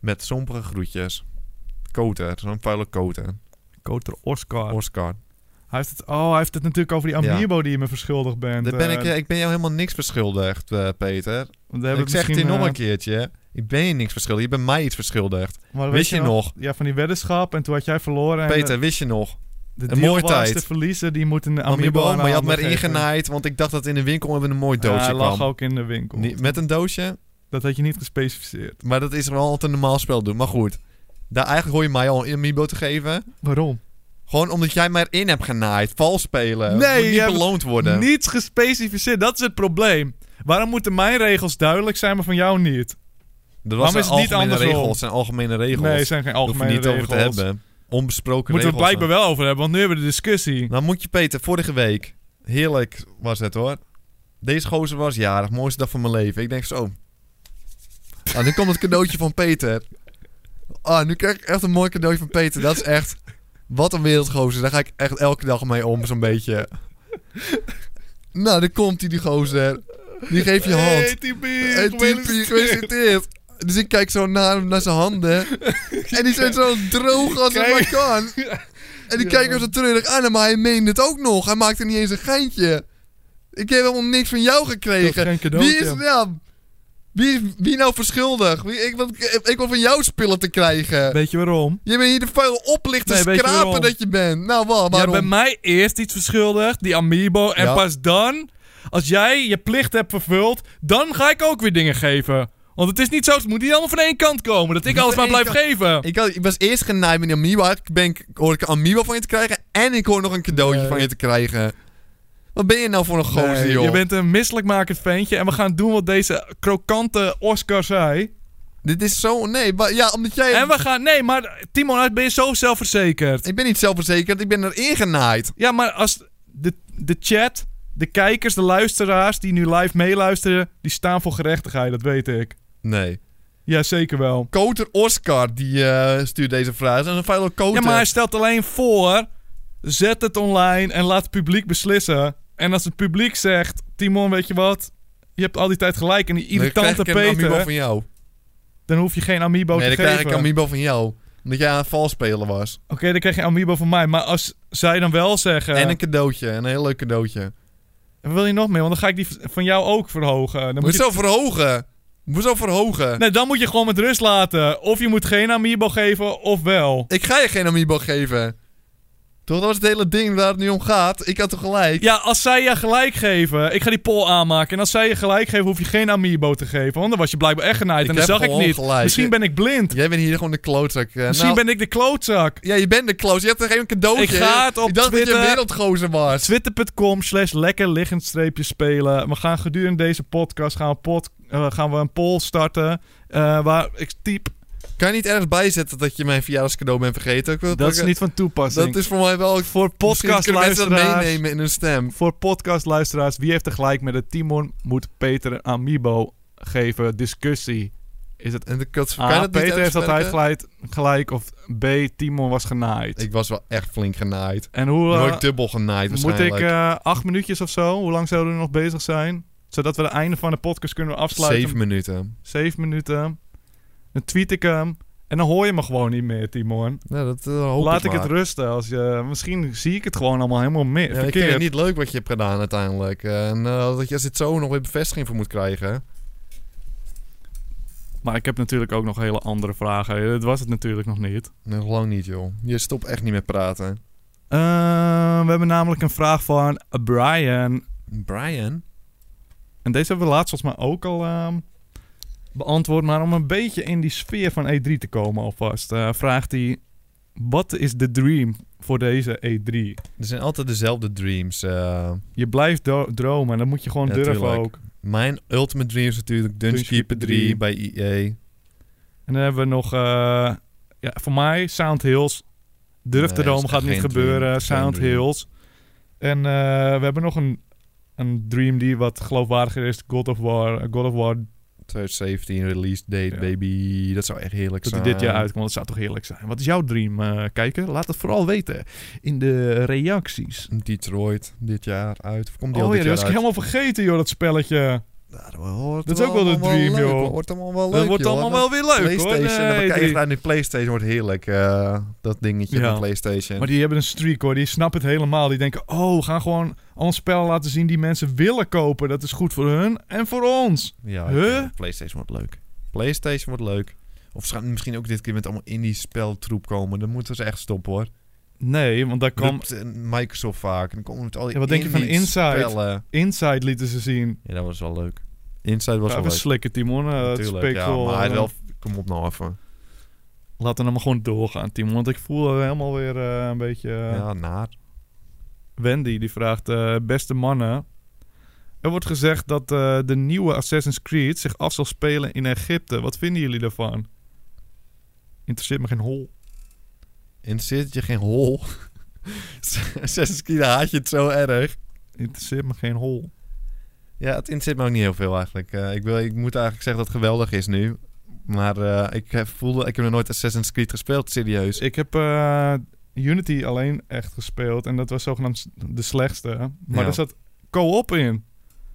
[SPEAKER 3] Met sombere groetjes. Koter, zo'n vuile koter.
[SPEAKER 2] Koter Oscar.
[SPEAKER 3] Oscar.
[SPEAKER 2] hij heeft het, oh, hij heeft het natuurlijk over die
[SPEAKER 3] Ja.
[SPEAKER 2] Amiibo die je me verschuldigd bent.
[SPEAKER 3] Daar ben
[SPEAKER 2] Eh,
[SPEAKER 3] ik, eh, ik ben jou helemaal niks verschuldigd, eh, Peter.
[SPEAKER 2] want daar heb
[SPEAKER 3] Ik zeg het hier
[SPEAKER 2] misschien,
[SPEAKER 3] nog
[SPEAKER 2] eh,
[SPEAKER 3] een keertje. Ik ben je niks verschuldigd. Je bent mij iets verschuldigd.
[SPEAKER 2] maar weet
[SPEAKER 3] Wist je nog?
[SPEAKER 2] Ja, van die weddenschap en toen had jij verloren. en eh,
[SPEAKER 3] Peter, wist je nog?
[SPEAKER 2] de, de
[SPEAKER 3] een
[SPEAKER 2] deal
[SPEAKER 3] mooie
[SPEAKER 2] was
[SPEAKER 3] tijd.
[SPEAKER 2] de verliezer die moet een Amiibo,
[SPEAKER 3] Amiibo,
[SPEAKER 2] aan
[SPEAKER 3] maar je had
[SPEAKER 2] handen geven.
[SPEAKER 3] maar ingenaaid. Want ik dacht dat in de winkel hebben een mooi
[SPEAKER 2] Ja,
[SPEAKER 3] doosje
[SPEAKER 2] hij lag
[SPEAKER 3] kwam.
[SPEAKER 2] ook in de winkel.
[SPEAKER 3] Niet- Met een doosje?
[SPEAKER 2] Dat had je niet gespecificeerd.
[SPEAKER 3] Maar dat is wel altijd een normaal spel doen. Maar goed. Daar eigenlijk hoor je mij al een Amiibo te geven.
[SPEAKER 2] Waarom?
[SPEAKER 3] Gewoon omdat jij maar in hebt genaaid. Vals spelen.
[SPEAKER 2] Nee,
[SPEAKER 3] Moet
[SPEAKER 2] je
[SPEAKER 3] niet
[SPEAKER 2] hebt-
[SPEAKER 3] beloond worden.
[SPEAKER 2] Niets gespecificeerd, dat is het probleem. Waarom moeten mijn regels duidelijk zijn, maar van jou niet?
[SPEAKER 3] Er
[SPEAKER 2] Waarom
[SPEAKER 3] zijn
[SPEAKER 2] is het niet
[SPEAKER 3] algemene
[SPEAKER 2] andersom?
[SPEAKER 3] regels. zijn algemene regels.
[SPEAKER 2] Nee,
[SPEAKER 3] Daar
[SPEAKER 2] zijn geen
[SPEAKER 3] hoef je
[SPEAKER 2] algemene
[SPEAKER 3] niet
[SPEAKER 2] regels.
[SPEAKER 3] over te hebben. Onbesproken
[SPEAKER 2] Moeten we
[SPEAKER 3] regels.
[SPEAKER 2] het blijkbaar wel over hebben, want nu hebben we de discussie.
[SPEAKER 3] Nou moet je Peter, vorige week. Heerlijk was het hoor. Deze gozer was jarig. Mooiste dag van mijn leven. Ik denk zo. Ah, nu komt het cadeautje van Peter. Ah, nu krijg ik echt een mooi cadeautje van Peter. Dat is echt... Wat een wereldgozer. Daar ga ik echt elke dag mee om, zo'n beetje. Nou, dan komt hij, die gozer. Die geeft je hand.
[SPEAKER 2] Hey, Tibi,
[SPEAKER 3] Hey, Tipi, gefeliciteerd. Dus ik kijk zo naar, naar zijn
[SPEAKER 2] *laughs*
[SPEAKER 3] handen. En die zijn zo droog als het maar
[SPEAKER 2] Kijk. *laughs*
[SPEAKER 3] kan. En die kijken me zo treurig aan. Maar hij meende het ook nog. Hij maakte niet eens een geintje. Ik heb helemaal niks van jou
[SPEAKER 2] Ik heb
[SPEAKER 3] gekregen.
[SPEAKER 2] geen cadeautje.
[SPEAKER 3] Wie is nou... Wie, is- wie nou verschuldig? Wie, ik, wil, ik wil van jou spullen te krijgen.
[SPEAKER 2] Weet je waarom?
[SPEAKER 3] Je bent hier de vuile oplichter
[SPEAKER 2] Nee, weet je
[SPEAKER 3] skrapen
[SPEAKER 2] waarom?
[SPEAKER 3] dat je bent. Nou, wa-
[SPEAKER 2] Jij bent
[SPEAKER 3] waarom?
[SPEAKER 2] mij eerst iets verschuldigd, die Amiibo. En
[SPEAKER 3] Ja.
[SPEAKER 2] pas dan, als jij je plicht hebt vervuld, dan ga ik ook weer dingen geven. Want het is niet zo, het moet niet allemaal van één kant komen. Dat ik
[SPEAKER 3] Niet
[SPEAKER 2] alles maar
[SPEAKER 3] van
[SPEAKER 2] blijf
[SPEAKER 3] één
[SPEAKER 2] geven.
[SPEAKER 3] Ik, had- ik was eerst genaaid met een Amiibo. Ik ben, ik- hoor ik een Amiibo van je te krijgen. En ik hoor nog een cadeautje
[SPEAKER 2] Nee.
[SPEAKER 3] van je te krijgen. Wat ben je nou voor een gozer,
[SPEAKER 2] Nee,
[SPEAKER 3] joh?
[SPEAKER 2] je bent een misselijkmakend ventje. En we gaan doen wat deze krokante Oscar zei.
[SPEAKER 3] Dit is zo... Nee, maar- ja, omdat jij...
[SPEAKER 2] En we gaan... Nee, maar Timon, nou ben je zo zelfverzekerd.
[SPEAKER 3] Ik ben niet zelfverzekerd. Ik ben erin genaaid.
[SPEAKER 2] Ja, maar als de, de chat, de kijkers, de luisteraars die nu live meeluisteren... die staan voor gerechtigheid, dat weet ik.
[SPEAKER 3] Nee.
[SPEAKER 2] Ja, zeker wel.
[SPEAKER 3] Koter Oscar, die eh, stuurt deze vraag. Dat is een vuile koter.
[SPEAKER 2] Ja, maar hij stelt alleen voor... zet het online en laat het publiek beslissen. En als het publiek zegt... Timon, weet je wat? Je hebt al die tijd gelijk en die
[SPEAKER 3] Dan krijg
[SPEAKER 2] irritante
[SPEAKER 3] ik een Amiibo
[SPEAKER 2] Peter...
[SPEAKER 3] van jou.
[SPEAKER 2] dan hoef je geen Amiibo
[SPEAKER 3] nee,
[SPEAKER 2] te
[SPEAKER 3] dan
[SPEAKER 2] geven.
[SPEAKER 3] krijg ik een Amiibo van jou. Omdat jij een valspeler was.
[SPEAKER 2] Oké, dan krijg je een Amiibo van mij. Maar als zij dan wel zeggen...
[SPEAKER 3] En een cadeautje. Een heel leuk cadeautje.
[SPEAKER 2] En Wil je nog meer? Want dan ga ik die v- van jou ook verhogen. Dan moet je...
[SPEAKER 3] Hoezo verhogen? Hoezo verhogen?
[SPEAKER 2] Nee, dan moet je gewoon met rust laten. Of je moet geen amiibo geven, of wel.
[SPEAKER 3] Ik ga je geen Amiibo geven. Toch, dat was het hele ding waar het nu om gaat. Ik had toch gelijk.
[SPEAKER 2] Ja, als zij je gelijk geven... Ik ga die poll aanmaken. En als zij je gelijk geven, hoef je geen amiibo te geven. Want dan was je blijkbaar echt genaaid.
[SPEAKER 3] Ik
[SPEAKER 2] en dat
[SPEAKER 3] heb
[SPEAKER 2] zag ik
[SPEAKER 3] gewoon
[SPEAKER 2] niet.
[SPEAKER 3] gelijk. nou-
[SPEAKER 2] Misschien ben ik blind.
[SPEAKER 3] Jij bent hier gewoon de klootzak. eh.
[SPEAKER 2] Misschien
[SPEAKER 3] Nou,
[SPEAKER 2] ben ik de klootzak.
[SPEAKER 3] Ja, je bent de klootzak. Je hebt toch geen cadeautje?
[SPEAKER 2] Ik ga het op
[SPEAKER 3] Ik dacht dat je
[SPEAKER 2] Twitter-
[SPEAKER 3] een wereldgozer was.
[SPEAKER 2] Twitter.com slash lekker liggend streepje spelen. We gaan gedurende deze podcast gaan we, pod- eh, gaan we een poll starten. eh, waar ik typ...
[SPEAKER 3] Kan je niet ergens bijzetten dat je mijn verjaardagscadeau bent vergeten? Ik wil-
[SPEAKER 2] Dat is
[SPEAKER 3] ik-
[SPEAKER 2] niet van toepassing.
[SPEAKER 3] Dat is voor mij wel...
[SPEAKER 2] Voor
[SPEAKER 3] Misschien kunnen mensen dat
[SPEAKER 2] podcastluisteraars...
[SPEAKER 3] meenemen in hun stem.
[SPEAKER 2] Voor podcastluisteraars, wie heeft er gelijk met het Timon moet Peter een amiibo geven? Discussie. Is het
[SPEAKER 3] En de kuts, kan je
[SPEAKER 2] A,
[SPEAKER 3] dat niet
[SPEAKER 2] Ah, Peter heeft
[SPEAKER 3] uitspreken?
[SPEAKER 2] altijd gelijk, gelijk of B, Timon was genaaid?
[SPEAKER 3] Ik was wel echt flink genaaid.
[SPEAKER 2] en hoe
[SPEAKER 3] Nu
[SPEAKER 2] eh,
[SPEAKER 3] word ik dubbel genaaid
[SPEAKER 2] moet ik
[SPEAKER 3] waarschijnlijk.
[SPEAKER 2] eh, acht minuutjes of zo? Hoe lang zouden we nog bezig zijn? Zodat we het einde van de podcast kunnen afsluiten.
[SPEAKER 3] Zeven minuten.
[SPEAKER 2] Zeven minuten. Dan tweet ik hem. En dan hoor je me gewoon niet meer, Timon.
[SPEAKER 3] Nou, dat eh, hoop
[SPEAKER 2] Laat ik
[SPEAKER 3] maar.
[SPEAKER 2] het rusten. Als je, misschien zie ik het gewoon allemaal helemaal meer.
[SPEAKER 3] Ja, ik vind
[SPEAKER 2] verkeerd.
[SPEAKER 3] het niet leuk wat je hebt gedaan uiteindelijk. Eh, En eh, dat je als dit zo nog weer bevestiging voor moet krijgen.
[SPEAKER 2] Maar ik heb natuurlijk ook nog hele andere vragen. Eh, Dat was het natuurlijk nog niet.
[SPEAKER 3] Nee, lang niet, joh. Je stopt echt niet met praten. Eh,
[SPEAKER 2] Eh, we hebben namelijk een vraag van Brian.
[SPEAKER 3] Brian?
[SPEAKER 2] En deze hebben we laatst volgens mij ook al ehm, beantwoord. Maar om een beetje in die sfeer van E3 te komen alvast. eh, vraagt hij, wat is de dream voor deze E3?
[SPEAKER 3] Er zijn altijd dezelfde dreams. eh.
[SPEAKER 2] Je blijft do- dromen en dat moet je gewoon
[SPEAKER 3] Ja,
[SPEAKER 2] durven
[SPEAKER 3] tuurlijk.
[SPEAKER 2] ook.
[SPEAKER 3] mijn ultimate dream is natuurlijk Dungeon
[SPEAKER 2] Dungeon
[SPEAKER 3] Keeper 3 bij E EA.
[SPEAKER 2] En dan hebben we nog, eh, ja, voor mij Sound Hills. Durf
[SPEAKER 3] Nee,
[SPEAKER 2] te dromen
[SPEAKER 3] is
[SPEAKER 2] gaat
[SPEAKER 3] geen
[SPEAKER 2] niet
[SPEAKER 3] dream.
[SPEAKER 2] gebeuren.
[SPEAKER 3] Geen
[SPEAKER 2] Sound
[SPEAKER 3] dream.
[SPEAKER 2] Hills. En eh, we hebben nog een, een dream die wat geloofwaardiger is. God of War. God of War
[SPEAKER 3] 2017 release date,
[SPEAKER 2] Ja.
[SPEAKER 3] baby. Dat zou echt heerlijk
[SPEAKER 2] dat die
[SPEAKER 3] zijn.
[SPEAKER 2] dit jaar uitkomt. Dat zou toch heerlijk zijn. Wat is jouw dream, eh kijker? Laat het vooral weten in de reacties.
[SPEAKER 3] Detroit dit jaar uit. Of komt die al
[SPEAKER 2] Oh ja,
[SPEAKER 3] dit
[SPEAKER 2] dat was ik
[SPEAKER 3] jaar uit?
[SPEAKER 2] helemaal vergeten, joh, dat spelletje.
[SPEAKER 3] Ja, dat hoort
[SPEAKER 2] Dat is ook wel de
[SPEAKER 3] allemaal
[SPEAKER 2] dream,
[SPEAKER 3] leuk,
[SPEAKER 2] joh.
[SPEAKER 3] hoor. Wordt allemaal wel leuk,
[SPEAKER 2] dat wordt
[SPEAKER 3] joh.
[SPEAKER 2] allemaal wel weer leuk, hoor.
[SPEAKER 3] PlayStation,
[SPEAKER 2] Nee,
[SPEAKER 3] dan krijg
[SPEAKER 2] die-
[SPEAKER 3] je aan de PlayStation wordt heerlijk. eh, dat dingetje
[SPEAKER 2] Ja.
[SPEAKER 3] van PlayStation.
[SPEAKER 2] Maar die hebben een streak, hoor. Die snappen het helemaal. Die denken, oh, we gaan gewoon al een spel laten zien die mensen willen kopen. Dat is goed voor hun en voor ons.
[SPEAKER 3] Ja,
[SPEAKER 2] Huh?
[SPEAKER 3] ja, PlayStation wordt leuk. PlayStation wordt leuk. Of ze gaan misschien ook dit keer met allemaal indie speltroep komen. Dan moeten ze echt stoppen hoor.
[SPEAKER 2] Nee, want daar kwam...
[SPEAKER 3] Dat, eh, Microsoft vaak. En dan komen we met al die
[SPEAKER 2] Ja, wat denk je van
[SPEAKER 3] indie
[SPEAKER 2] Inside?
[SPEAKER 3] spellen.
[SPEAKER 2] Inside lieten ze zien.
[SPEAKER 3] Ja, dat was wel leuk. Inside was
[SPEAKER 2] Ja,
[SPEAKER 3] wel
[SPEAKER 2] even
[SPEAKER 3] leuk.
[SPEAKER 2] slikken, Timon. eh, het
[SPEAKER 3] Natuurlijk,
[SPEAKER 2] spreekt
[SPEAKER 3] ja,
[SPEAKER 2] wel,
[SPEAKER 3] maar hij
[SPEAKER 2] eh,
[SPEAKER 3] wel... Kom op nou even.
[SPEAKER 2] Laten we hem gewoon doorgaan, Timon. Want ik voel eh, helemaal weer eh, een beetje... eh,
[SPEAKER 3] ja, naar.
[SPEAKER 2] Wendy, die vraagt... eh, beste mannen... Er wordt gezegd dat eh, de nieuwe Assassin's Creed zich af zal spelen in Egypte. Wat vinden jullie daarvan? Interesseert me geen hol.
[SPEAKER 3] Interesseert het je geen hol? *laughs* Assassin's Creed haat je het zo erg.
[SPEAKER 2] Interesseert me geen hol.
[SPEAKER 3] Ja, het interesseert me ook niet heel veel eigenlijk. Eh, ik, wil, ik moet eigenlijk zeggen dat het geweldig is nu. Maar eh, ik, heb, voelde, ik heb nog nooit Assassin's Creed gespeeld, serieus.
[SPEAKER 2] Dus ik heb eh, Unity alleen echt gespeeld. En dat was zogenaamd s- de slechtste. Maar
[SPEAKER 3] Ja.
[SPEAKER 2] daar zat co-op in.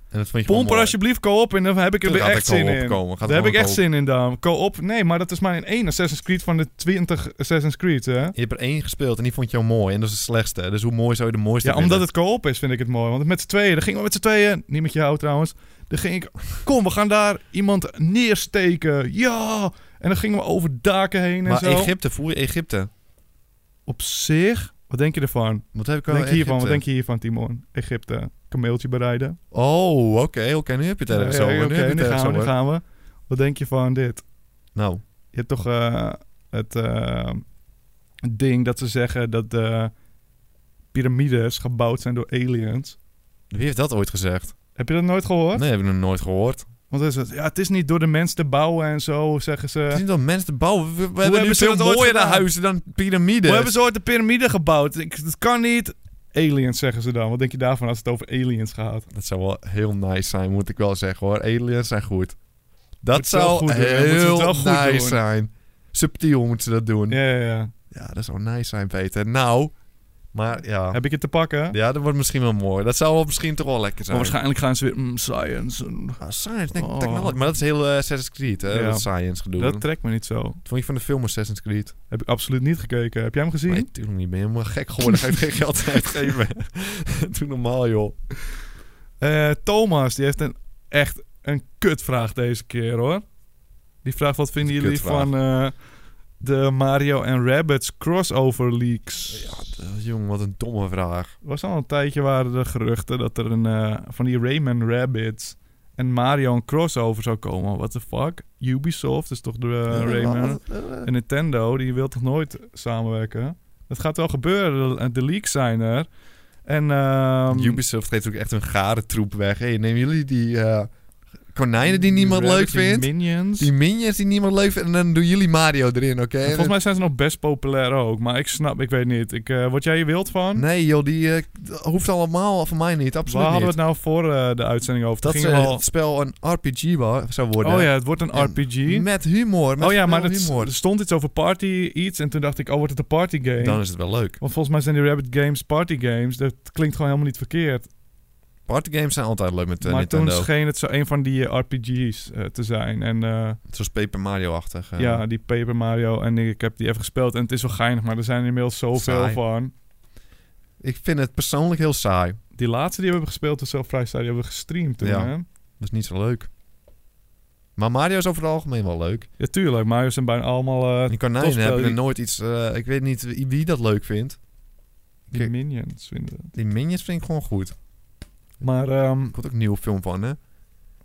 [SPEAKER 3] En dat vond je gewoon
[SPEAKER 2] Pomp er
[SPEAKER 3] mooi.
[SPEAKER 2] alsjeblieft co-op in. Dan heb ik er weer
[SPEAKER 3] Tuurlijk
[SPEAKER 2] echt
[SPEAKER 3] gaat er
[SPEAKER 2] zin
[SPEAKER 3] co-op
[SPEAKER 2] in.
[SPEAKER 3] komen. Gaat er
[SPEAKER 2] Daar heb ik
[SPEAKER 3] gewoon
[SPEAKER 2] echt
[SPEAKER 3] co-op.
[SPEAKER 2] zin in dan. Co-op, nee, maar dat is maar in één Assassin's Creed van de 20 Assassin's Creed, hè?
[SPEAKER 3] Je hebt er één gespeeld en die vond je al mooi. En dat is de slechtste. Dus hoe mooi zou je de mooiste
[SPEAKER 2] Ja, omdat
[SPEAKER 3] vinden?
[SPEAKER 2] het co-op is, vind ik het mooi. Want met z'n tweeën, dan gingen we met z'n tweeën, niet met jou trouwens. Dan ging ik, kom, we gaan daar iemand neersteken. Ja! En dan gingen we over daken heen en
[SPEAKER 3] Maar
[SPEAKER 2] zo.
[SPEAKER 3] Egypte, voel je Egypte?
[SPEAKER 2] Op zich, wat denk je ervan?
[SPEAKER 3] Wat heb ik
[SPEAKER 2] Wat
[SPEAKER 3] al
[SPEAKER 2] denk je hiervan? Wat
[SPEAKER 3] Egypte?
[SPEAKER 2] denk je hiervan, Timon? Egypte, kameeltje bereiden.
[SPEAKER 3] Oh, oké, oké. nu heb je het ergens
[SPEAKER 2] Ja,
[SPEAKER 3] over.
[SPEAKER 2] ja,
[SPEAKER 3] nu heb je
[SPEAKER 2] Oké,
[SPEAKER 3] het
[SPEAKER 2] nu
[SPEAKER 3] ergens
[SPEAKER 2] gaan we, nu
[SPEAKER 3] over.
[SPEAKER 2] gaan we. Wat denk je van dit?
[SPEAKER 3] Nou,
[SPEAKER 2] Je hebt toch eh, het eh, ding dat ze zeggen dat de piramides gebouwd zijn door aliens.
[SPEAKER 3] wie heeft dat ooit gezegd?
[SPEAKER 2] Heb je dat nooit gehoord?
[SPEAKER 3] Nee, heb ik nog nooit gehoord.
[SPEAKER 2] Want het is, het- ja, het is niet door de mens te bouwen en zo, zeggen ze.
[SPEAKER 3] Het is niet dat mensen te bouwen. We, we hebben nu
[SPEAKER 2] hebben ze
[SPEAKER 3] veel
[SPEAKER 2] dat ooit
[SPEAKER 3] mooiere
[SPEAKER 2] gedaan?
[SPEAKER 3] huizen dan piramides.
[SPEAKER 2] Hoe hebben ze ooit de piramide gebouwd? Ik, dat kan niet. Aliens zeggen ze dan. Wat denk je daarvan als het over aliens gaat?
[SPEAKER 3] Dat zou wel heel nice zijn, moet ik wel zeggen hoor. Aliens zijn goed.
[SPEAKER 2] het
[SPEAKER 3] Dat
[SPEAKER 2] wel
[SPEAKER 3] zou
[SPEAKER 2] goed doen, hè? Moeten ze het
[SPEAKER 3] heel
[SPEAKER 2] wel goed
[SPEAKER 3] nice
[SPEAKER 2] doen.
[SPEAKER 3] zijn. Subtiel moeten ze dat doen.
[SPEAKER 2] Ja, ja, ja.
[SPEAKER 3] Ja, dat zou nice zijn, Peter. Nou, maar ja.
[SPEAKER 2] Heb ik het te pakken?
[SPEAKER 3] Ja, dat wordt misschien wel mooi. Dat zou wel misschien toch wel lekker
[SPEAKER 2] Maar
[SPEAKER 3] zijn.
[SPEAKER 2] waarschijnlijk gaan ze weer mm, science. en-
[SPEAKER 3] Ah, science, nee,
[SPEAKER 2] Oh.
[SPEAKER 3] technology. Maar dat is heel eh, Assassin's Creed, hè?
[SPEAKER 2] Ja.
[SPEAKER 3] Dat science gedoe.
[SPEAKER 2] Dat trekt me niet zo.
[SPEAKER 3] Vond je van de film Assassin's Creed?
[SPEAKER 2] Heb ik absoluut niet gekeken. Heb jij hem gezien?
[SPEAKER 3] Nee, natuurlijk niet. Ben je helemaal gek geworden? Ga je geen geld uitgeven? *laughs* Doe normaal, joh.
[SPEAKER 2] Eh, Thomas, die heeft een, echt een kutvraag deze keer hoor. Die vraagt: wat vinden
[SPEAKER 3] Een
[SPEAKER 2] jullie
[SPEAKER 3] kutvraag.
[SPEAKER 2] van eh, de Mario en Rabbids crossover leaks?
[SPEAKER 3] Ja, d- jong, wat een domme vraag.
[SPEAKER 2] Er was al een tijdje waren er geruchten dat er een, eh, van die Rayman Rabbids en Mario een crossover zou komen. What the fuck? Ubisoft is toch de eh, Rayman?
[SPEAKER 3] eh,
[SPEAKER 2] En Nintendo, die wil toch nooit samenwerken? Dat gaat wel gebeuren. De, de leaks zijn er. En ehm,
[SPEAKER 3] Ubisoft geeft ook echt een gare troep weg. Hey, nemen jullie die eh, konijnen die niemand
[SPEAKER 2] Rabbit,
[SPEAKER 3] leuk
[SPEAKER 2] die
[SPEAKER 3] vindt?
[SPEAKER 2] Minions.
[SPEAKER 3] Die minions die niemand leuk vindt? En dan doen jullie Mario erin, oké?
[SPEAKER 2] En Volgens mij zijn ze nog best populair ook. Maar ik snap, ik weet niet. Ik, eh, word jij je wild van?
[SPEAKER 3] Nee joh, die eh, d- hoeft allemaal van mij niet,
[SPEAKER 2] Waar
[SPEAKER 3] absoluut
[SPEAKER 2] hadden we
[SPEAKER 3] niet.
[SPEAKER 2] het nou voor eh, de uitzending over?
[SPEAKER 3] Dat
[SPEAKER 2] Toen
[SPEAKER 3] eh,
[SPEAKER 2] gingen we al-
[SPEAKER 3] het spel een RPG wa- zou worden.
[SPEAKER 2] Oh ja, het wordt een
[SPEAKER 3] En
[SPEAKER 2] RPG.
[SPEAKER 3] Met humor, met
[SPEAKER 2] Oh ja, maar
[SPEAKER 3] veel
[SPEAKER 2] het,
[SPEAKER 3] humor.
[SPEAKER 2] er stond iets over party iets. En toen dacht ik, oh, wordt het een party game?
[SPEAKER 3] Dan is het wel leuk.
[SPEAKER 2] Want volgens mij zijn die Rabbit Games party games. Dat klinkt gewoon helemaal niet verkeerd.
[SPEAKER 3] Partygames zijn altijd leuk met eh,
[SPEAKER 2] maar toen
[SPEAKER 3] Nintendo.
[SPEAKER 2] scheen het zo een van die eh, RPG's eh, te zijn. En eh,
[SPEAKER 3] Zoals Paper Mario-achtig. eh.
[SPEAKER 2] ja, die Paper Mario. En ik heb die even gespeeld. En het is wel geinig, maar er zijn er inmiddels zoveel
[SPEAKER 3] Saai.
[SPEAKER 2] van.
[SPEAKER 3] Ik vind het persoonlijk heel saai.
[SPEAKER 2] Die laatste die we hebben gespeeld, was zo vrij saai. Die hebben we gestreamd toen,
[SPEAKER 3] Ja.
[SPEAKER 2] hè?
[SPEAKER 3] Dat is niet zo leuk. Maar Mario is over het algemeen wel leuk.
[SPEAKER 2] Ja, tuurlijk. Mario zijn bijna allemaal eh
[SPEAKER 3] Die konijnen
[SPEAKER 2] topspel,
[SPEAKER 3] hebben er
[SPEAKER 2] die-
[SPEAKER 3] nooit iets... eh, ik weet niet wie wie dat leuk vindt.
[SPEAKER 2] die
[SPEAKER 3] Kijk.
[SPEAKER 2] minions vinden.
[SPEAKER 3] Die minions vind ik gewoon goed. Er
[SPEAKER 2] Maar, ehm,
[SPEAKER 3] komt ook een nieuwe film van, hè?
[SPEAKER 2] oh,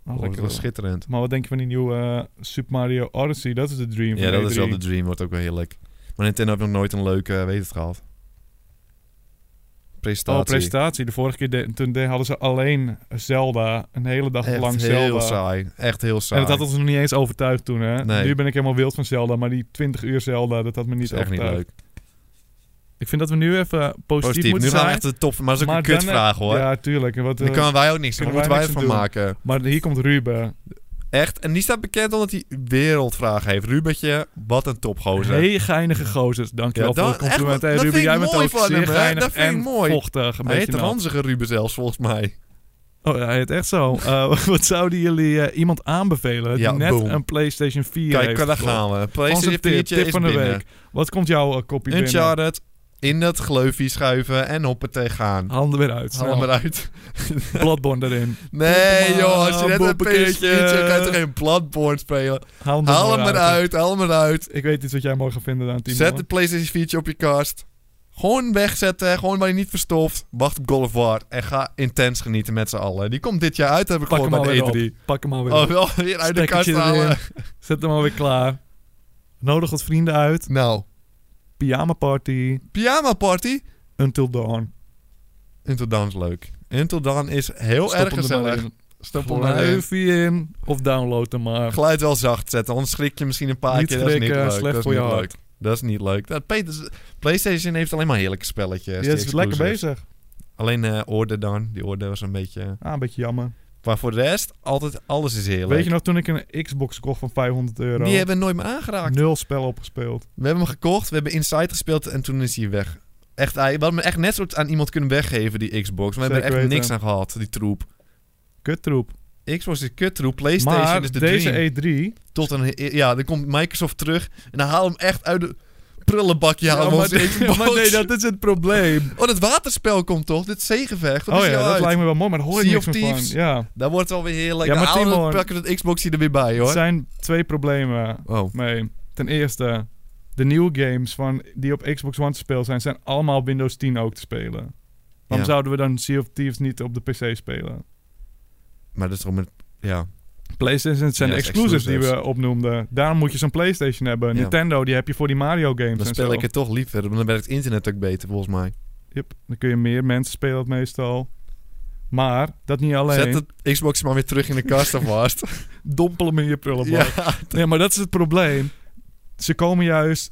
[SPEAKER 3] dat
[SPEAKER 2] lekker.
[SPEAKER 3] was schitterend.
[SPEAKER 2] maar wat denk je van die nieuwe eh, Super Mario Odyssey? Dat is de dream
[SPEAKER 3] Ja,
[SPEAKER 2] van E
[SPEAKER 3] dat is wel
[SPEAKER 2] E3.
[SPEAKER 3] de dream. Wordt ook wel heerlijk. Maar Nintendo heeft nog nooit een leuke, eh, weet het gehad. Presentatie.
[SPEAKER 2] Oh, presentatie. De vorige keer de- toen de- hadden ze alleen Zelda. Een hele dag
[SPEAKER 3] Echt
[SPEAKER 2] lang
[SPEAKER 3] heel
[SPEAKER 2] Zelda.
[SPEAKER 3] saai. Echt heel
[SPEAKER 2] En
[SPEAKER 3] saai.
[SPEAKER 2] het had ons nog niet eens overtuigd toen, hè?
[SPEAKER 3] Nee.
[SPEAKER 2] Nu ben ik helemaal wild van Zelda, maar die 20 uur Zelda, dat had me niet
[SPEAKER 3] is echt niet
[SPEAKER 2] overtuigd.
[SPEAKER 3] leuk.
[SPEAKER 2] Ik vind dat we nu even eh, positief,
[SPEAKER 3] Positief. Nu
[SPEAKER 2] moeten
[SPEAKER 3] gaan we
[SPEAKER 2] zijn.
[SPEAKER 3] echt de top... Maar dat is ook
[SPEAKER 2] Maar
[SPEAKER 3] een
[SPEAKER 2] dan, eh,
[SPEAKER 3] kutvraag, hoor.
[SPEAKER 2] Ja, tuurlijk. En Wat,
[SPEAKER 3] Daar
[SPEAKER 2] eh,
[SPEAKER 3] kunnen wij ook niks aan.
[SPEAKER 2] kunnen
[SPEAKER 3] moeten
[SPEAKER 2] wij niks
[SPEAKER 3] wij ervan
[SPEAKER 2] aan doen.
[SPEAKER 3] maken.
[SPEAKER 2] Maar hier komt Ruben.
[SPEAKER 3] Echt. En die staat bekend omdat hij wereldvraag heeft. Rubertje, wat een topgozer.
[SPEAKER 2] Heel geinige gozers. Dankjewel
[SPEAKER 3] Ja,
[SPEAKER 2] voor
[SPEAKER 3] dan-
[SPEAKER 2] het compliment.
[SPEAKER 3] echt,
[SPEAKER 2] Hey,
[SPEAKER 3] dat
[SPEAKER 2] Ruben,
[SPEAKER 3] vind ik
[SPEAKER 2] jij bent
[SPEAKER 3] mooi
[SPEAKER 2] ook
[SPEAKER 3] van
[SPEAKER 2] zeer
[SPEAKER 3] hem, hè?
[SPEAKER 2] geinig
[SPEAKER 3] Dat vind ik
[SPEAKER 2] en
[SPEAKER 3] mooi.
[SPEAKER 2] vochtig. Een
[SPEAKER 3] Hij
[SPEAKER 2] beetje
[SPEAKER 3] heet de
[SPEAKER 2] nat.
[SPEAKER 3] ranzige Ruben zelfs, volgens mij.
[SPEAKER 2] Oh, hij heet echt zo. Eh, *laughs* wat zouden jullie eh, iemand aanbevelen
[SPEAKER 3] Ja,
[SPEAKER 2] die net
[SPEAKER 3] boom.
[SPEAKER 2] een PlayStation 4 heeft?
[SPEAKER 3] Kijk, daar
[SPEAKER 2] gekocht?
[SPEAKER 3] gaan we.
[SPEAKER 2] Onze
[SPEAKER 3] PlayStation
[SPEAKER 2] tip,
[SPEAKER 3] 4
[SPEAKER 2] tip
[SPEAKER 3] is
[SPEAKER 2] van de
[SPEAKER 3] binnen.
[SPEAKER 2] week. Wat komt jouw kopje kopie binnen?
[SPEAKER 3] Uncharted, in dat gleufje schuiven en hoppatee gaan.
[SPEAKER 2] Handen weer uit.
[SPEAKER 3] Haal hem
[SPEAKER 2] Snel.
[SPEAKER 3] eruit.
[SPEAKER 2] Bladbon erin.
[SPEAKER 3] Nee joh, als je net een
[SPEAKER 2] Boepenkistje.
[SPEAKER 3] PS4 hebt, kan je toch geen platboard spelen?
[SPEAKER 2] Haal hem, er
[SPEAKER 3] Haal hem
[SPEAKER 2] maar
[SPEAKER 3] eruit, haal hem eruit.
[SPEAKER 2] Ik weet iets wat jij mooi gaat vinden aan Timo.
[SPEAKER 3] Zet de PlayStation 4 op je kast. Gewoon wegzetten, gewoon waar je niet verstopt. Wacht op God of War en ga intens genieten met z'n allen. Die komt dit jaar uit, heb ik
[SPEAKER 2] Pak
[SPEAKER 3] gewoon
[SPEAKER 2] hem al
[SPEAKER 3] bij
[SPEAKER 2] weer
[SPEAKER 3] de E3.
[SPEAKER 2] op. Pak hem al weer
[SPEAKER 3] Oh,
[SPEAKER 2] op.
[SPEAKER 3] wel weer uit de kast
[SPEAKER 2] Stekkertje
[SPEAKER 3] halen.
[SPEAKER 2] erin. Zet hem alweer klaar. Nodig wat vrienden uit.
[SPEAKER 3] Nou,
[SPEAKER 2] Pyjama party.
[SPEAKER 3] pyjama party.
[SPEAKER 2] Until dawn.
[SPEAKER 3] Until Dawn is leuk. Until Dawn is heel
[SPEAKER 2] Stop
[SPEAKER 3] erg
[SPEAKER 2] hem er maar
[SPEAKER 3] gezellig.
[SPEAKER 2] in.
[SPEAKER 3] Stop
[SPEAKER 2] Gooi er even in. Of download hem maar.
[SPEAKER 3] Geluid wel zacht zetten, anders schrik je misschien een paar
[SPEAKER 2] Niet
[SPEAKER 3] keer. Dat is niet
[SPEAKER 2] schrikken,
[SPEAKER 3] leuk.
[SPEAKER 2] slecht
[SPEAKER 3] dat is
[SPEAKER 2] voor je
[SPEAKER 3] niet
[SPEAKER 2] hart.
[SPEAKER 3] leuk. Dat is niet leuk. Dat, Peter, PlayStation heeft alleen maar heerlijke spelletjes.
[SPEAKER 2] Die
[SPEAKER 3] die
[SPEAKER 2] is lekker
[SPEAKER 3] exclusives.
[SPEAKER 2] bezig.
[SPEAKER 3] Alleen eh Orde dan. Die Orde was een beetje...
[SPEAKER 2] Ah, een beetje jammer.
[SPEAKER 3] Maar voor de rest, altijd alles is heerlijk.
[SPEAKER 2] Weet je nog toen ik een Xbox kocht van 500 euro?
[SPEAKER 3] Die hebben we nooit meer aangeraakt.
[SPEAKER 2] nul spel opgespeeld.
[SPEAKER 3] We hebben hem gekocht, we hebben Inside gespeeld en toen is hij weg. Echt, hij- we hadden hem echt net zo aan iemand kunnen weggeven, die Xbox. Maar we hebben
[SPEAKER 2] Zeker
[SPEAKER 3] er echt
[SPEAKER 2] weten.
[SPEAKER 3] niks aan gehad, die troep.
[SPEAKER 2] Kuttroep.
[SPEAKER 3] Xbox is kuttroep, PlayStation
[SPEAKER 2] Maar
[SPEAKER 3] is de
[SPEAKER 2] deze E
[SPEAKER 3] dream.
[SPEAKER 2] E3...
[SPEAKER 3] Tot een, ja, dan komt Microsoft terug en dan haal hem echt uit de prullenbakje. Ja,
[SPEAKER 2] maar, maar nee, *laughs* dat is het probleem.
[SPEAKER 3] Oh, dat waterspel komt toch? Dit zeegevecht. *laughs* Dat
[SPEAKER 2] Oh
[SPEAKER 3] is
[SPEAKER 2] ja,
[SPEAKER 3] heel
[SPEAKER 2] dat
[SPEAKER 3] uit.
[SPEAKER 2] lijkt me wel mooi, maar daar hoor je
[SPEAKER 3] Sea
[SPEAKER 2] niks
[SPEAKER 3] of
[SPEAKER 2] meer van.
[SPEAKER 3] Thieves.
[SPEAKER 2] Ja,
[SPEAKER 3] Daar wordt wel weer heel lekker.
[SPEAKER 2] Ja, maar
[SPEAKER 3] Haal
[SPEAKER 2] Timon-
[SPEAKER 3] het pakken dat Xbox hier erbij bij,
[SPEAKER 2] er
[SPEAKER 3] hoor.
[SPEAKER 2] zijn twee problemen
[SPEAKER 3] Oh,
[SPEAKER 2] mee. Ten eerste, de nieuwe games van, die op Xbox One te spelen zijn, zijn allemaal op Windows 10 ook te spelen. Waarom
[SPEAKER 3] Ja.
[SPEAKER 2] zouden we dan Sea of Thieves niet op de PC spelen?
[SPEAKER 3] maar dat is toch met... Ja.
[SPEAKER 2] PlayStation, het zijn
[SPEAKER 3] Ja,
[SPEAKER 2] de
[SPEAKER 3] dat is
[SPEAKER 2] exclusives die we
[SPEAKER 3] exclusives.
[SPEAKER 2] opnoemden. Daarom moet je zo'n PlayStation hebben.
[SPEAKER 3] Ja.
[SPEAKER 2] Nintendo, die heb je voor die Mario games.
[SPEAKER 3] Dan
[SPEAKER 2] en
[SPEAKER 3] speel
[SPEAKER 2] zo.
[SPEAKER 3] ik het toch liever. want Dan werkt het internet ook beter, volgens mij.
[SPEAKER 2] Yep, dan kun je meer mensen spelen het meestal. Maar dat niet alleen.
[SPEAKER 3] Zet het Xbox maar weer terug in de kast alvast.
[SPEAKER 2] *laughs* Dompel hem in je prullenbak.
[SPEAKER 3] ja.
[SPEAKER 2] Nee, maar dat is het probleem. Ze komen juist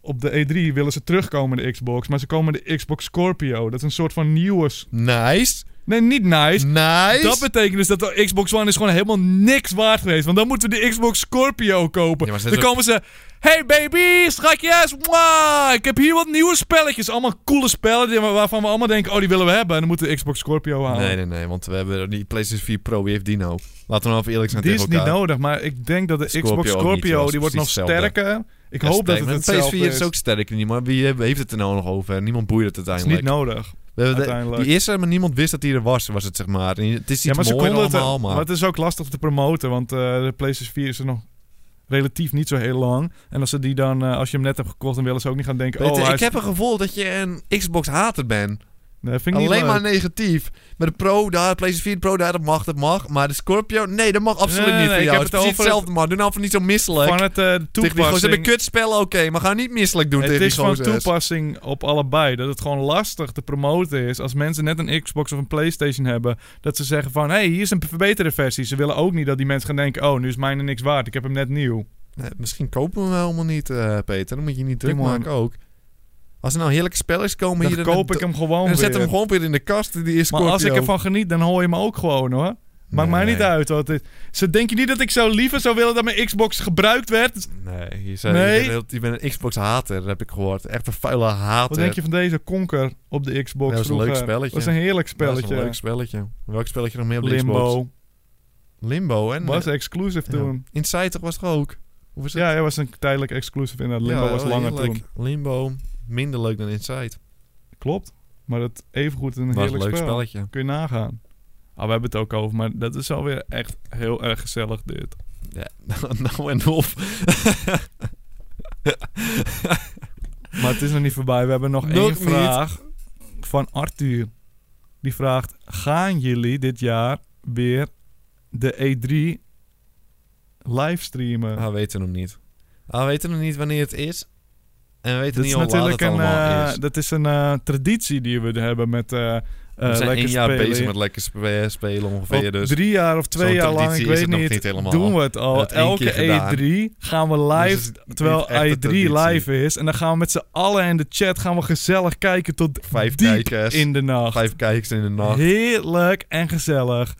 [SPEAKER 2] op de E3 willen ze terugkomen de Xbox, maar ze komen de Xbox Scorpio. Dat is een soort van nieuwe. s-
[SPEAKER 3] Nice.
[SPEAKER 2] Nee, niet nice.
[SPEAKER 3] Nice.
[SPEAKER 2] Dat betekent dus dat de Xbox One is gewoon helemaal niks waard geweest. Want dan moeten we de Xbox Scorpio kopen.
[SPEAKER 3] Ja, maar ze
[SPEAKER 2] dan
[SPEAKER 3] is ook-
[SPEAKER 2] komen ze... Hey baby, schatjes. mwah, ik heb hier wat nieuwe spelletjes. Allemaal coole spellen die- waarvan we allemaal denken... Oh, die willen we hebben. En dan moeten we de Xbox Scorpio halen.
[SPEAKER 3] Nee, nee, nee. Want we hebben die PlayStation 4 Pro. Wie heeft die nou? Laten we nou even eerlijk zijn
[SPEAKER 2] Die is
[SPEAKER 3] tegen
[SPEAKER 2] niet
[SPEAKER 3] elkaar.
[SPEAKER 2] nodig, maar ik denk dat de
[SPEAKER 3] Scorpio
[SPEAKER 2] Xbox
[SPEAKER 3] ook niet,
[SPEAKER 2] Scorpio,
[SPEAKER 3] was
[SPEAKER 2] die wordt nog
[SPEAKER 3] precies hetzelfde.
[SPEAKER 2] sterker. Ik
[SPEAKER 3] Ja,
[SPEAKER 2] hoop dat
[SPEAKER 3] sterk,
[SPEAKER 2] het
[SPEAKER 3] maar
[SPEAKER 2] hetzelfde
[SPEAKER 3] de PS4 is
[SPEAKER 2] is.
[SPEAKER 3] ook sterker niet, maar wie heb- heeft het er nou nog over? Niemand boeit het
[SPEAKER 2] is niet
[SPEAKER 3] uiteindelijk.
[SPEAKER 2] nodig.
[SPEAKER 3] We hebben de-
[SPEAKER 2] uiteindelijk.
[SPEAKER 3] die is er, maar niemand wist dat die er was, was het zeg maar. En het is
[SPEAKER 2] Ja,
[SPEAKER 3] iets
[SPEAKER 2] maar ze
[SPEAKER 3] moois
[SPEAKER 2] konden het,
[SPEAKER 3] allemaal, maar...
[SPEAKER 2] maar het is ook lastig te promoten, want eh, de PlayStation 4 is er nog relatief niet zo heel lang. En als ze die dan, eh, als je hem net hebt gekocht, dan willen ze ook niet gaan denken,
[SPEAKER 3] Peter,
[SPEAKER 2] oh, hij
[SPEAKER 3] ik
[SPEAKER 2] is-
[SPEAKER 3] heb een gevoel dat je een Xbox-hater bent.
[SPEAKER 2] Nee, vind ik niet
[SPEAKER 3] Alleen
[SPEAKER 2] leuk.
[SPEAKER 3] maar negatief. Met de Pro, daar, PlayStation 4 Pro, daar, dat mag, dat mag. Maar de Scorpio, nee, dat mag absoluut
[SPEAKER 2] Nee, nee,
[SPEAKER 3] niet voor
[SPEAKER 2] ik
[SPEAKER 3] jou.
[SPEAKER 2] heb
[SPEAKER 3] Het
[SPEAKER 2] het
[SPEAKER 3] is precies
[SPEAKER 2] over het-
[SPEAKER 3] hetzelfde, man. Doe nou van niet zo misselijk.
[SPEAKER 2] Van het eh, de
[SPEAKER 3] tegen die gozer. Ze
[SPEAKER 2] toepassing.
[SPEAKER 3] hebben kutspellen, oké, maar ga niet misselijk doen
[SPEAKER 2] het
[SPEAKER 3] tegen
[SPEAKER 2] is
[SPEAKER 3] die
[SPEAKER 2] van
[SPEAKER 3] gozers.
[SPEAKER 2] toepassing op allebei. Dat het gewoon lastig te promoten is. Als mensen net een Xbox of een PlayStation hebben. Dat ze zeggen van, hé, hey, hier is een verbeterde versie. Ze willen ook niet dat die mensen gaan denken, oh, nu is mijne niks waard. Ik heb hem net nieuw.
[SPEAKER 3] Nee, misschien kopen we hem helemaal niet, eh, Peter. Dan moet je je niet druk
[SPEAKER 2] Timon.
[SPEAKER 3] maken ook. Als er nou heerlijke spelletjes komen
[SPEAKER 2] Dan
[SPEAKER 3] hier... en-
[SPEAKER 2] koop ik hem gewoon
[SPEAKER 3] En
[SPEAKER 2] weer.
[SPEAKER 3] zet hem gewoon weer in de kast, die is
[SPEAKER 2] maar als ik
[SPEAKER 3] Scorpio.
[SPEAKER 2] ervan geniet, dan hoor je me ook gewoon hoor. Maakt mij
[SPEAKER 3] Nee.
[SPEAKER 2] niet uit. Wat het is. Ze denken niet dat ik zo liever zou willen dat mijn Xbox gebruikt werd.
[SPEAKER 3] Nee, je, zei,
[SPEAKER 2] Nee.
[SPEAKER 3] je, bent, je bent een Xbox-hater, heb ik gehoord. Echt een vuile hater.
[SPEAKER 2] Wat denk je van deze konker op de Xbox?
[SPEAKER 3] Ja, eh, dat is een leuk
[SPEAKER 2] vroeger?
[SPEAKER 3] spelletje.
[SPEAKER 2] Dat is een heerlijk
[SPEAKER 3] Ja, dat
[SPEAKER 2] spelletje.
[SPEAKER 3] is een leuk spelletje. Welk spelletje nog meer op de Xbox?
[SPEAKER 2] Limbo.
[SPEAKER 3] Limbo, hè?
[SPEAKER 2] Was exclusive
[SPEAKER 3] Ja.
[SPEAKER 2] toen.
[SPEAKER 3] Inside toch was het ook? Hoe was het?
[SPEAKER 2] Ja, hij was een tijdelijk exclusive in dat Limbo
[SPEAKER 3] Ja,
[SPEAKER 2] was langer
[SPEAKER 3] heerlijk.
[SPEAKER 2] toen.
[SPEAKER 3] Limbo, minder leuk dan Inside.
[SPEAKER 2] Klopt. Maar dat evengoed een
[SPEAKER 3] was een leuk
[SPEAKER 2] heerlijk spel.
[SPEAKER 3] spelletje.
[SPEAKER 2] Kun je nagaan. Ah, we hebben het ook over, maar dat is alweer echt heel erg gezellig dit.
[SPEAKER 3] Ja, *laughs* nou en of. *laughs*
[SPEAKER 2] Maar het is nog niet voorbij. We hebben nog,
[SPEAKER 3] Nog
[SPEAKER 2] één
[SPEAKER 3] niet.
[SPEAKER 2] vraag van Arthur. Die vraagt, gaan jullie dit jaar weer de E3 livestreamen?
[SPEAKER 3] Ah, we weten nog niet. Ah, we weten nog niet wanneer het is. En we weten
[SPEAKER 2] dat
[SPEAKER 3] niet
[SPEAKER 2] is
[SPEAKER 3] hoe laat
[SPEAKER 2] natuurlijk
[SPEAKER 3] het
[SPEAKER 2] een,
[SPEAKER 3] allemaal
[SPEAKER 2] eh,
[SPEAKER 3] is.
[SPEAKER 2] dat is een eh, traditie die we hebben met eh eh,
[SPEAKER 3] we zijn
[SPEAKER 2] lekker
[SPEAKER 3] één jaar
[SPEAKER 2] spelen.
[SPEAKER 3] bezig met lekker spe-
[SPEAKER 2] Al
[SPEAKER 3] spelen ongeveer. Dus
[SPEAKER 2] Drie jaar of twee
[SPEAKER 3] zo'n
[SPEAKER 2] jaar lang,
[SPEAKER 3] traditie
[SPEAKER 2] ik
[SPEAKER 3] is
[SPEAKER 2] weet
[SPEAKER 3] het nog
[SPEAKER 2] niet,
[SPEAKER 3] niet helemaal.
[SPEAKER 2] doen we het
[SPEAKER 3] We
[SPEAKER 2] al.
[SPEAKER 3] hebben het één
[SPEAKER 2] Elke
[SPEAKER 3] keer gedaan.
[SPEAKER 2] E3 gaan we live,
[SPEAKER 3] Dus het is niet
[SPEAKER 2] terwijl
[SPEAKER 3] echt een
[SPEAKER 2] E3
[SPEAKER 3] traditie.
[SPEAKER 2] live is. En dan gaan we met z'n allen in de chat gaan we gezellig kijken tot
[SPEAKER 3] Vijf
[SPEAKER 2] diep
[SPEAKER 3] kijkers.
[SPEAKER 2] in de nacht.
[SPEAKER 3] Vijf kijkers in de nacht.
[SPEAKER 2] Heerlijk en gezellig.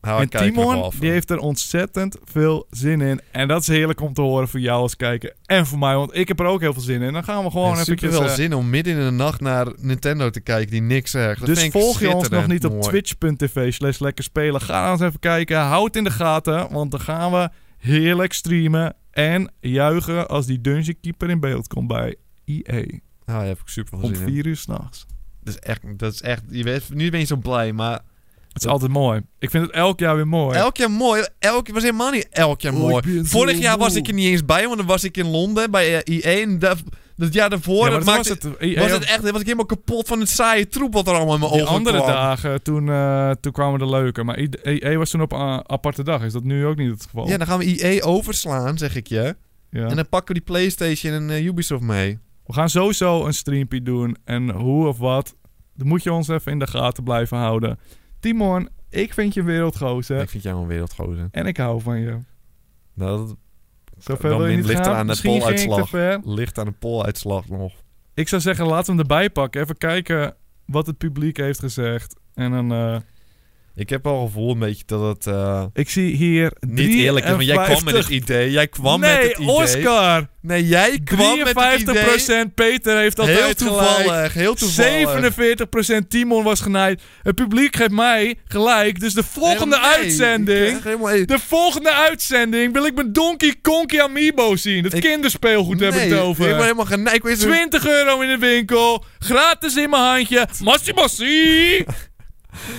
[SPEAKER 3] Hou
[SPEAKER 2] en
[SPEAKER 3] een kijker
[SPEAKER 2] Timon,
[SPEAKER 3] ervan.
[SPEAKER 2] die heeft er ontzettend veel zin in. En dat is heerlijk om te horen voor jou als kijker. En voor mij, want ik heb er ook heel veel zin in. Dan gaan we gewoon
[SPEAKER 3] En
[SPEAKER 2] even... eh,
[SPEAKER 3] super wel zin om midden in de nacht naar Nintendo te kijken die niks zegt. Dat
[SPEAKER 2] Dus
[SPEAKER 3] vind ik
[SPEAKER 2] volg je ons nog
[SPEAKER 3] schitterend
[SPEAKER 2] niet op
[SPEAKER 3] mooi.
[SPEAKER 2] twitch.tv slash lekker spelen. Ga eens even kijken. Houd in de gaten, want dan gaan we heerlijk streamen. En juichen als die dungeon keeper in beeld komt bij EA.
[SPEAKER 3] Ah, daar heb ik super veel
[SPEAKER 2] Om
[SPEAKER 3] zin in.
[SPEAKER 2] vier uur s'nachts.
[SPEAKER 3] Dat is echt, dat is echt je bent, nu ben je zo blij, maar
[SPEAKER 2] Het is altijd mooi. Ik vind het elk jaar weer mooi.
[SPEAKER 3] elk jaar mooi. Elk, was helemaal niet elk jaar
[SPEAKER 2] Oh, ik
[SPEAKER 3] mooi.
[SPEAKER 2] ben zo
[SPEAKER 3] Vorig jaar was
[SPEAKER 2] moe.
[SPEAKER 3] ik er niet eens bij, want dan was ik in Londen bij eh, EA. En dat, dat jaar daarvoor,
[SPEAKER 2] Ja, maar
[SPEAKER 3] dat
[SPEAKER 2] dat
[SPEAKER 3] maakte,
[SPEAKER 2] was het. E EA
[SPEAKER 3] was het echt, was ik helemaal kapot van het saaie troep wat er allemaal in mijn
[SPEAKER 2] die
[SPEAKER 3] ogen
[SPEAKER 2] andere
[SPEAKER 3] kwam.
[SPEAKER 2] dagen, toen, eh, toen kwamen de leuke. Maar EA was toen op een aparte dag. Is dat nu ook niet het geval?
[SPEAKER 3] Ja, dan gaan we EA overslaan, zeg ik je.
[SPEAKER 2] Ja.
[SPEAKER 3] En dan pakken we die PlayStation en eh, Ubisoft mee.
[SPEAKER 2] We gaan sowieso een streampie doen. En hoe of wat, dan moet je ons even in de gaten blijven houden. Timon, ik vind je een wereldgozer.
[SPEAKER 3] Ik vind jou een wereldgozer.
[SPEAKER 2] En ik hou van je.
[SPEAKER 3] Nou, dat
[SPEAKER 2] Zover
[SPEAKER 3] Dan
[SPEAKER 2] wil je
[SPEAKER 3] min-
[SPEAKER 2] niet
[SPEAKER 3] ligt
[SPEAKER 2] gaan.
[SPEAKER 3] eraan de
[SPEAKER 2] Misschien ging ik te
[SPEAKER 3] poluitslag.
[SPEAKER 2] ver.
[SPEAKER 3] ligt aan de poluitslag nog.
[SPEAKER 2] Ik zou zeggen, laten we hem erbij pakken. Even kijken wat het publiek heeft gezegd. En dan... eh,
[SPEAKER 3] Ik heb al een gevoel een beetje dat het eh,
[SPEAKER 2] ik zie hier...
[SPEAKER 3] niet eerlijk is, want jij kwam met het
[SPEAKER 2] 53.
[SPEAKER 3] idee. Jij kwam
[SPEAKER 2] nee,
[SPEAKER 3] met het idee.
[SPEAKER 2] Oscar!
[SPEAKER 3] Nee, jij kwam met het idee.
[SPEAKER 2] 53% Peter heeft altijd
[SPEAKER 3] Heel
[SPEAKER 2] gelijk.
[SPEAKER 3] toevallig, heel toevallig.
[SPEAKER 2] 47% Timon was genaaid. Het publiek geeft mij gelijk. Dus de volgende
[SPEAKER 3] Nee, ik
[SPEAKER 2] uitzending...
[SPEAKER 3] krijg helemaal- ik-
[SPEAKER 2] De volgende uitzending wil ik mijn Donkey Konky Amiibo zien. Het
[SPEAKER 3] Ik-
[SPEAKER 2] kinderspeelgoed heb ik
[SPEAKER 3] Nee,
[SPEAKER 2] het over.
[SPEAKER 3] Ik ben helemaal genijk.
[SPEAKER 2] 20 euro in de winkel. Gratis in mijn handje. Massie, massie.
[SPEAKER 3] *laughs*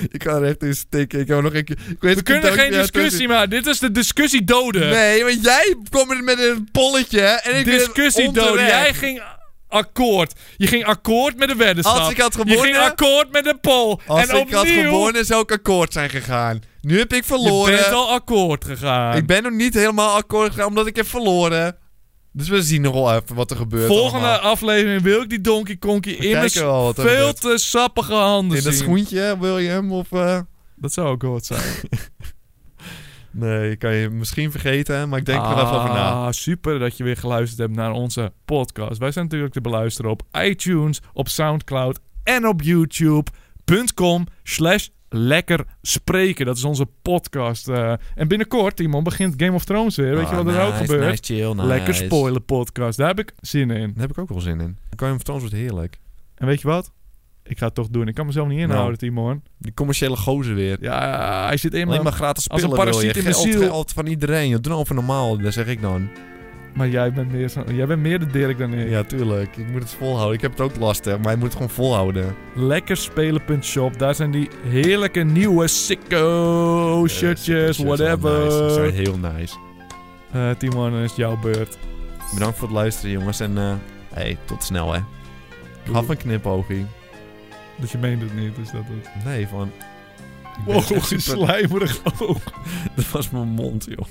[SPEAKER 3] Ik kan er echt in steken. Ik heb nog een keer. Ik weet
[SPEAKER 2] We kunnen geen discussie maar Dit is de discussie doden.
[SPEAKER 3] Nee, want jij kwam met- met een polletje. En ik ben
[SPEAKER 2] discussie doden.
[SPEAKER 3] onterecht.
[SPEAKER 2] Jij ging akkoord. Je ging akkoord met de weddenschap.
[SPEAKER 3] Als ik had
[SPEAKER 2] Je ging
[SPEAKER 3] gewonnen-
[SPEAKER 2] akkoord met de poll.
[SPEAKER 3] Als
[SPEAKER 2] en
[SPEAKER 3] ik had
[SPEAKER 2] opnieuw,
[SPEAKER 3] gewonnen zou ik akkoord zijn gegaan. Nu heb ik
[SPEAKER 2] je
[SPEAKER 3] verloren.
[SPEAKER 2] bent al akkoord gegaan.
[SPEAKER 3] Ik ben nog niet helemaal akkoord gegaan omdat ik heb verloren. Dus we zien nog wel even wat er gebeurt
[SPEAKER 2] Volgende
[SPEAKER 3] allemaal.
[SPEAKER 2] aflevering wil ik die Donkey Konkie immers
[SPEAKER 3] kijken wel wat er
[SPEAKER 2] veel
[SPEAKER 3] gebeurt.
[SPEAKER 2] te sappige handen
[SPEAKER 3] In dat
[SPEAKER 2] zien.
[SPEAKER 3] schoentje, William, of... eh,
[SPEAKER 2] Dat zou ook goed zijn.
[SPEAKER 3] Nee, kan je misschien vergeten, maar ik denk er wel even over na.
[SPEAKER 2] Ah, super dat je weer geluisterd hebt naar onze podcast. Wij zijn natuurlijk te beluisteren op iTunes, op Soundcloud en op YouTube.com slash lekker spreken. Dat is onze podcast. eh. en binnenkort, Timon, begint Game of Thrones weer. Weet je
[SPEAKER 3] Ah,
[SPEAKER 2] wat er ook gebeurt?
[SPEAKER 3] chill,
[SPEAKER 2] Lekker spoiler podcast. Daar heb ik zin in.
[SPEAKER 3] Daar heb ik ook wel zin in. Kan je hem vertonen, wordt heerlijk.
[SPEAKER 2] En weet je wat? Ik ga het toch doen. Ik kan mezelf niet inhouden,
[SPEAKER 3] Nou.
[SPEAKER 2] Timon.
[SPEAKER 3] Die commerciële gozer weer.
[SPEAKER 2] Ja, hij zit in
[SPEAKER 3] Alleen maar
[SPEAKER 2] maar...
[SPEAKER 3] gratis
[SPEAKER 2] als een
[SPEAKER 3] spullen wil je.
[SPEAKER 2] parasiet in mijn
[SPEAKER 3] Geld,
[SPEAKER 2] ziel.
[SPEAKER 3] geld van iedereen. Doe nou even normaal, dat zeg ik dan.
[SPEAKER 2] Maar jij bent meer, zo- jij bent meer de Dirk dan ik.
[SPEAKER 3] Ja, tuurlijk. Ik moet het volhouden. Ik heb het ook lastig, maar je moet het gewoon volhouden.
[SPEAKER 2] Lekkerspelen.shop. Daar zijn die heerlijke nieuwe sicko shirtjes,
[SPEAKER 3] Eh,
[SPEAKER 2] Oh, whatever.
[SPEAKER 3] Nice. Dat zijn heel nice.
[SPEAKER 2] Eh, Timon, dan is het jouw beurt.
[SPEAKER 3] Bedankt voor het luisteren, jongens. En eh, hey, tot snel, hè. Gaf een knipoogie.
[SPEAKER 2] Dus je meent het niet, is dat het?
[SPEAKER 3] Nee, van... ik ben
[SPEAKER 2] Wow, *laughs*
[SPEAKER 3] echt super- *laughs*
[SPEAKER 2] slijmerig ook.
[SPEAKER 3] Dat was mijn mond, joh.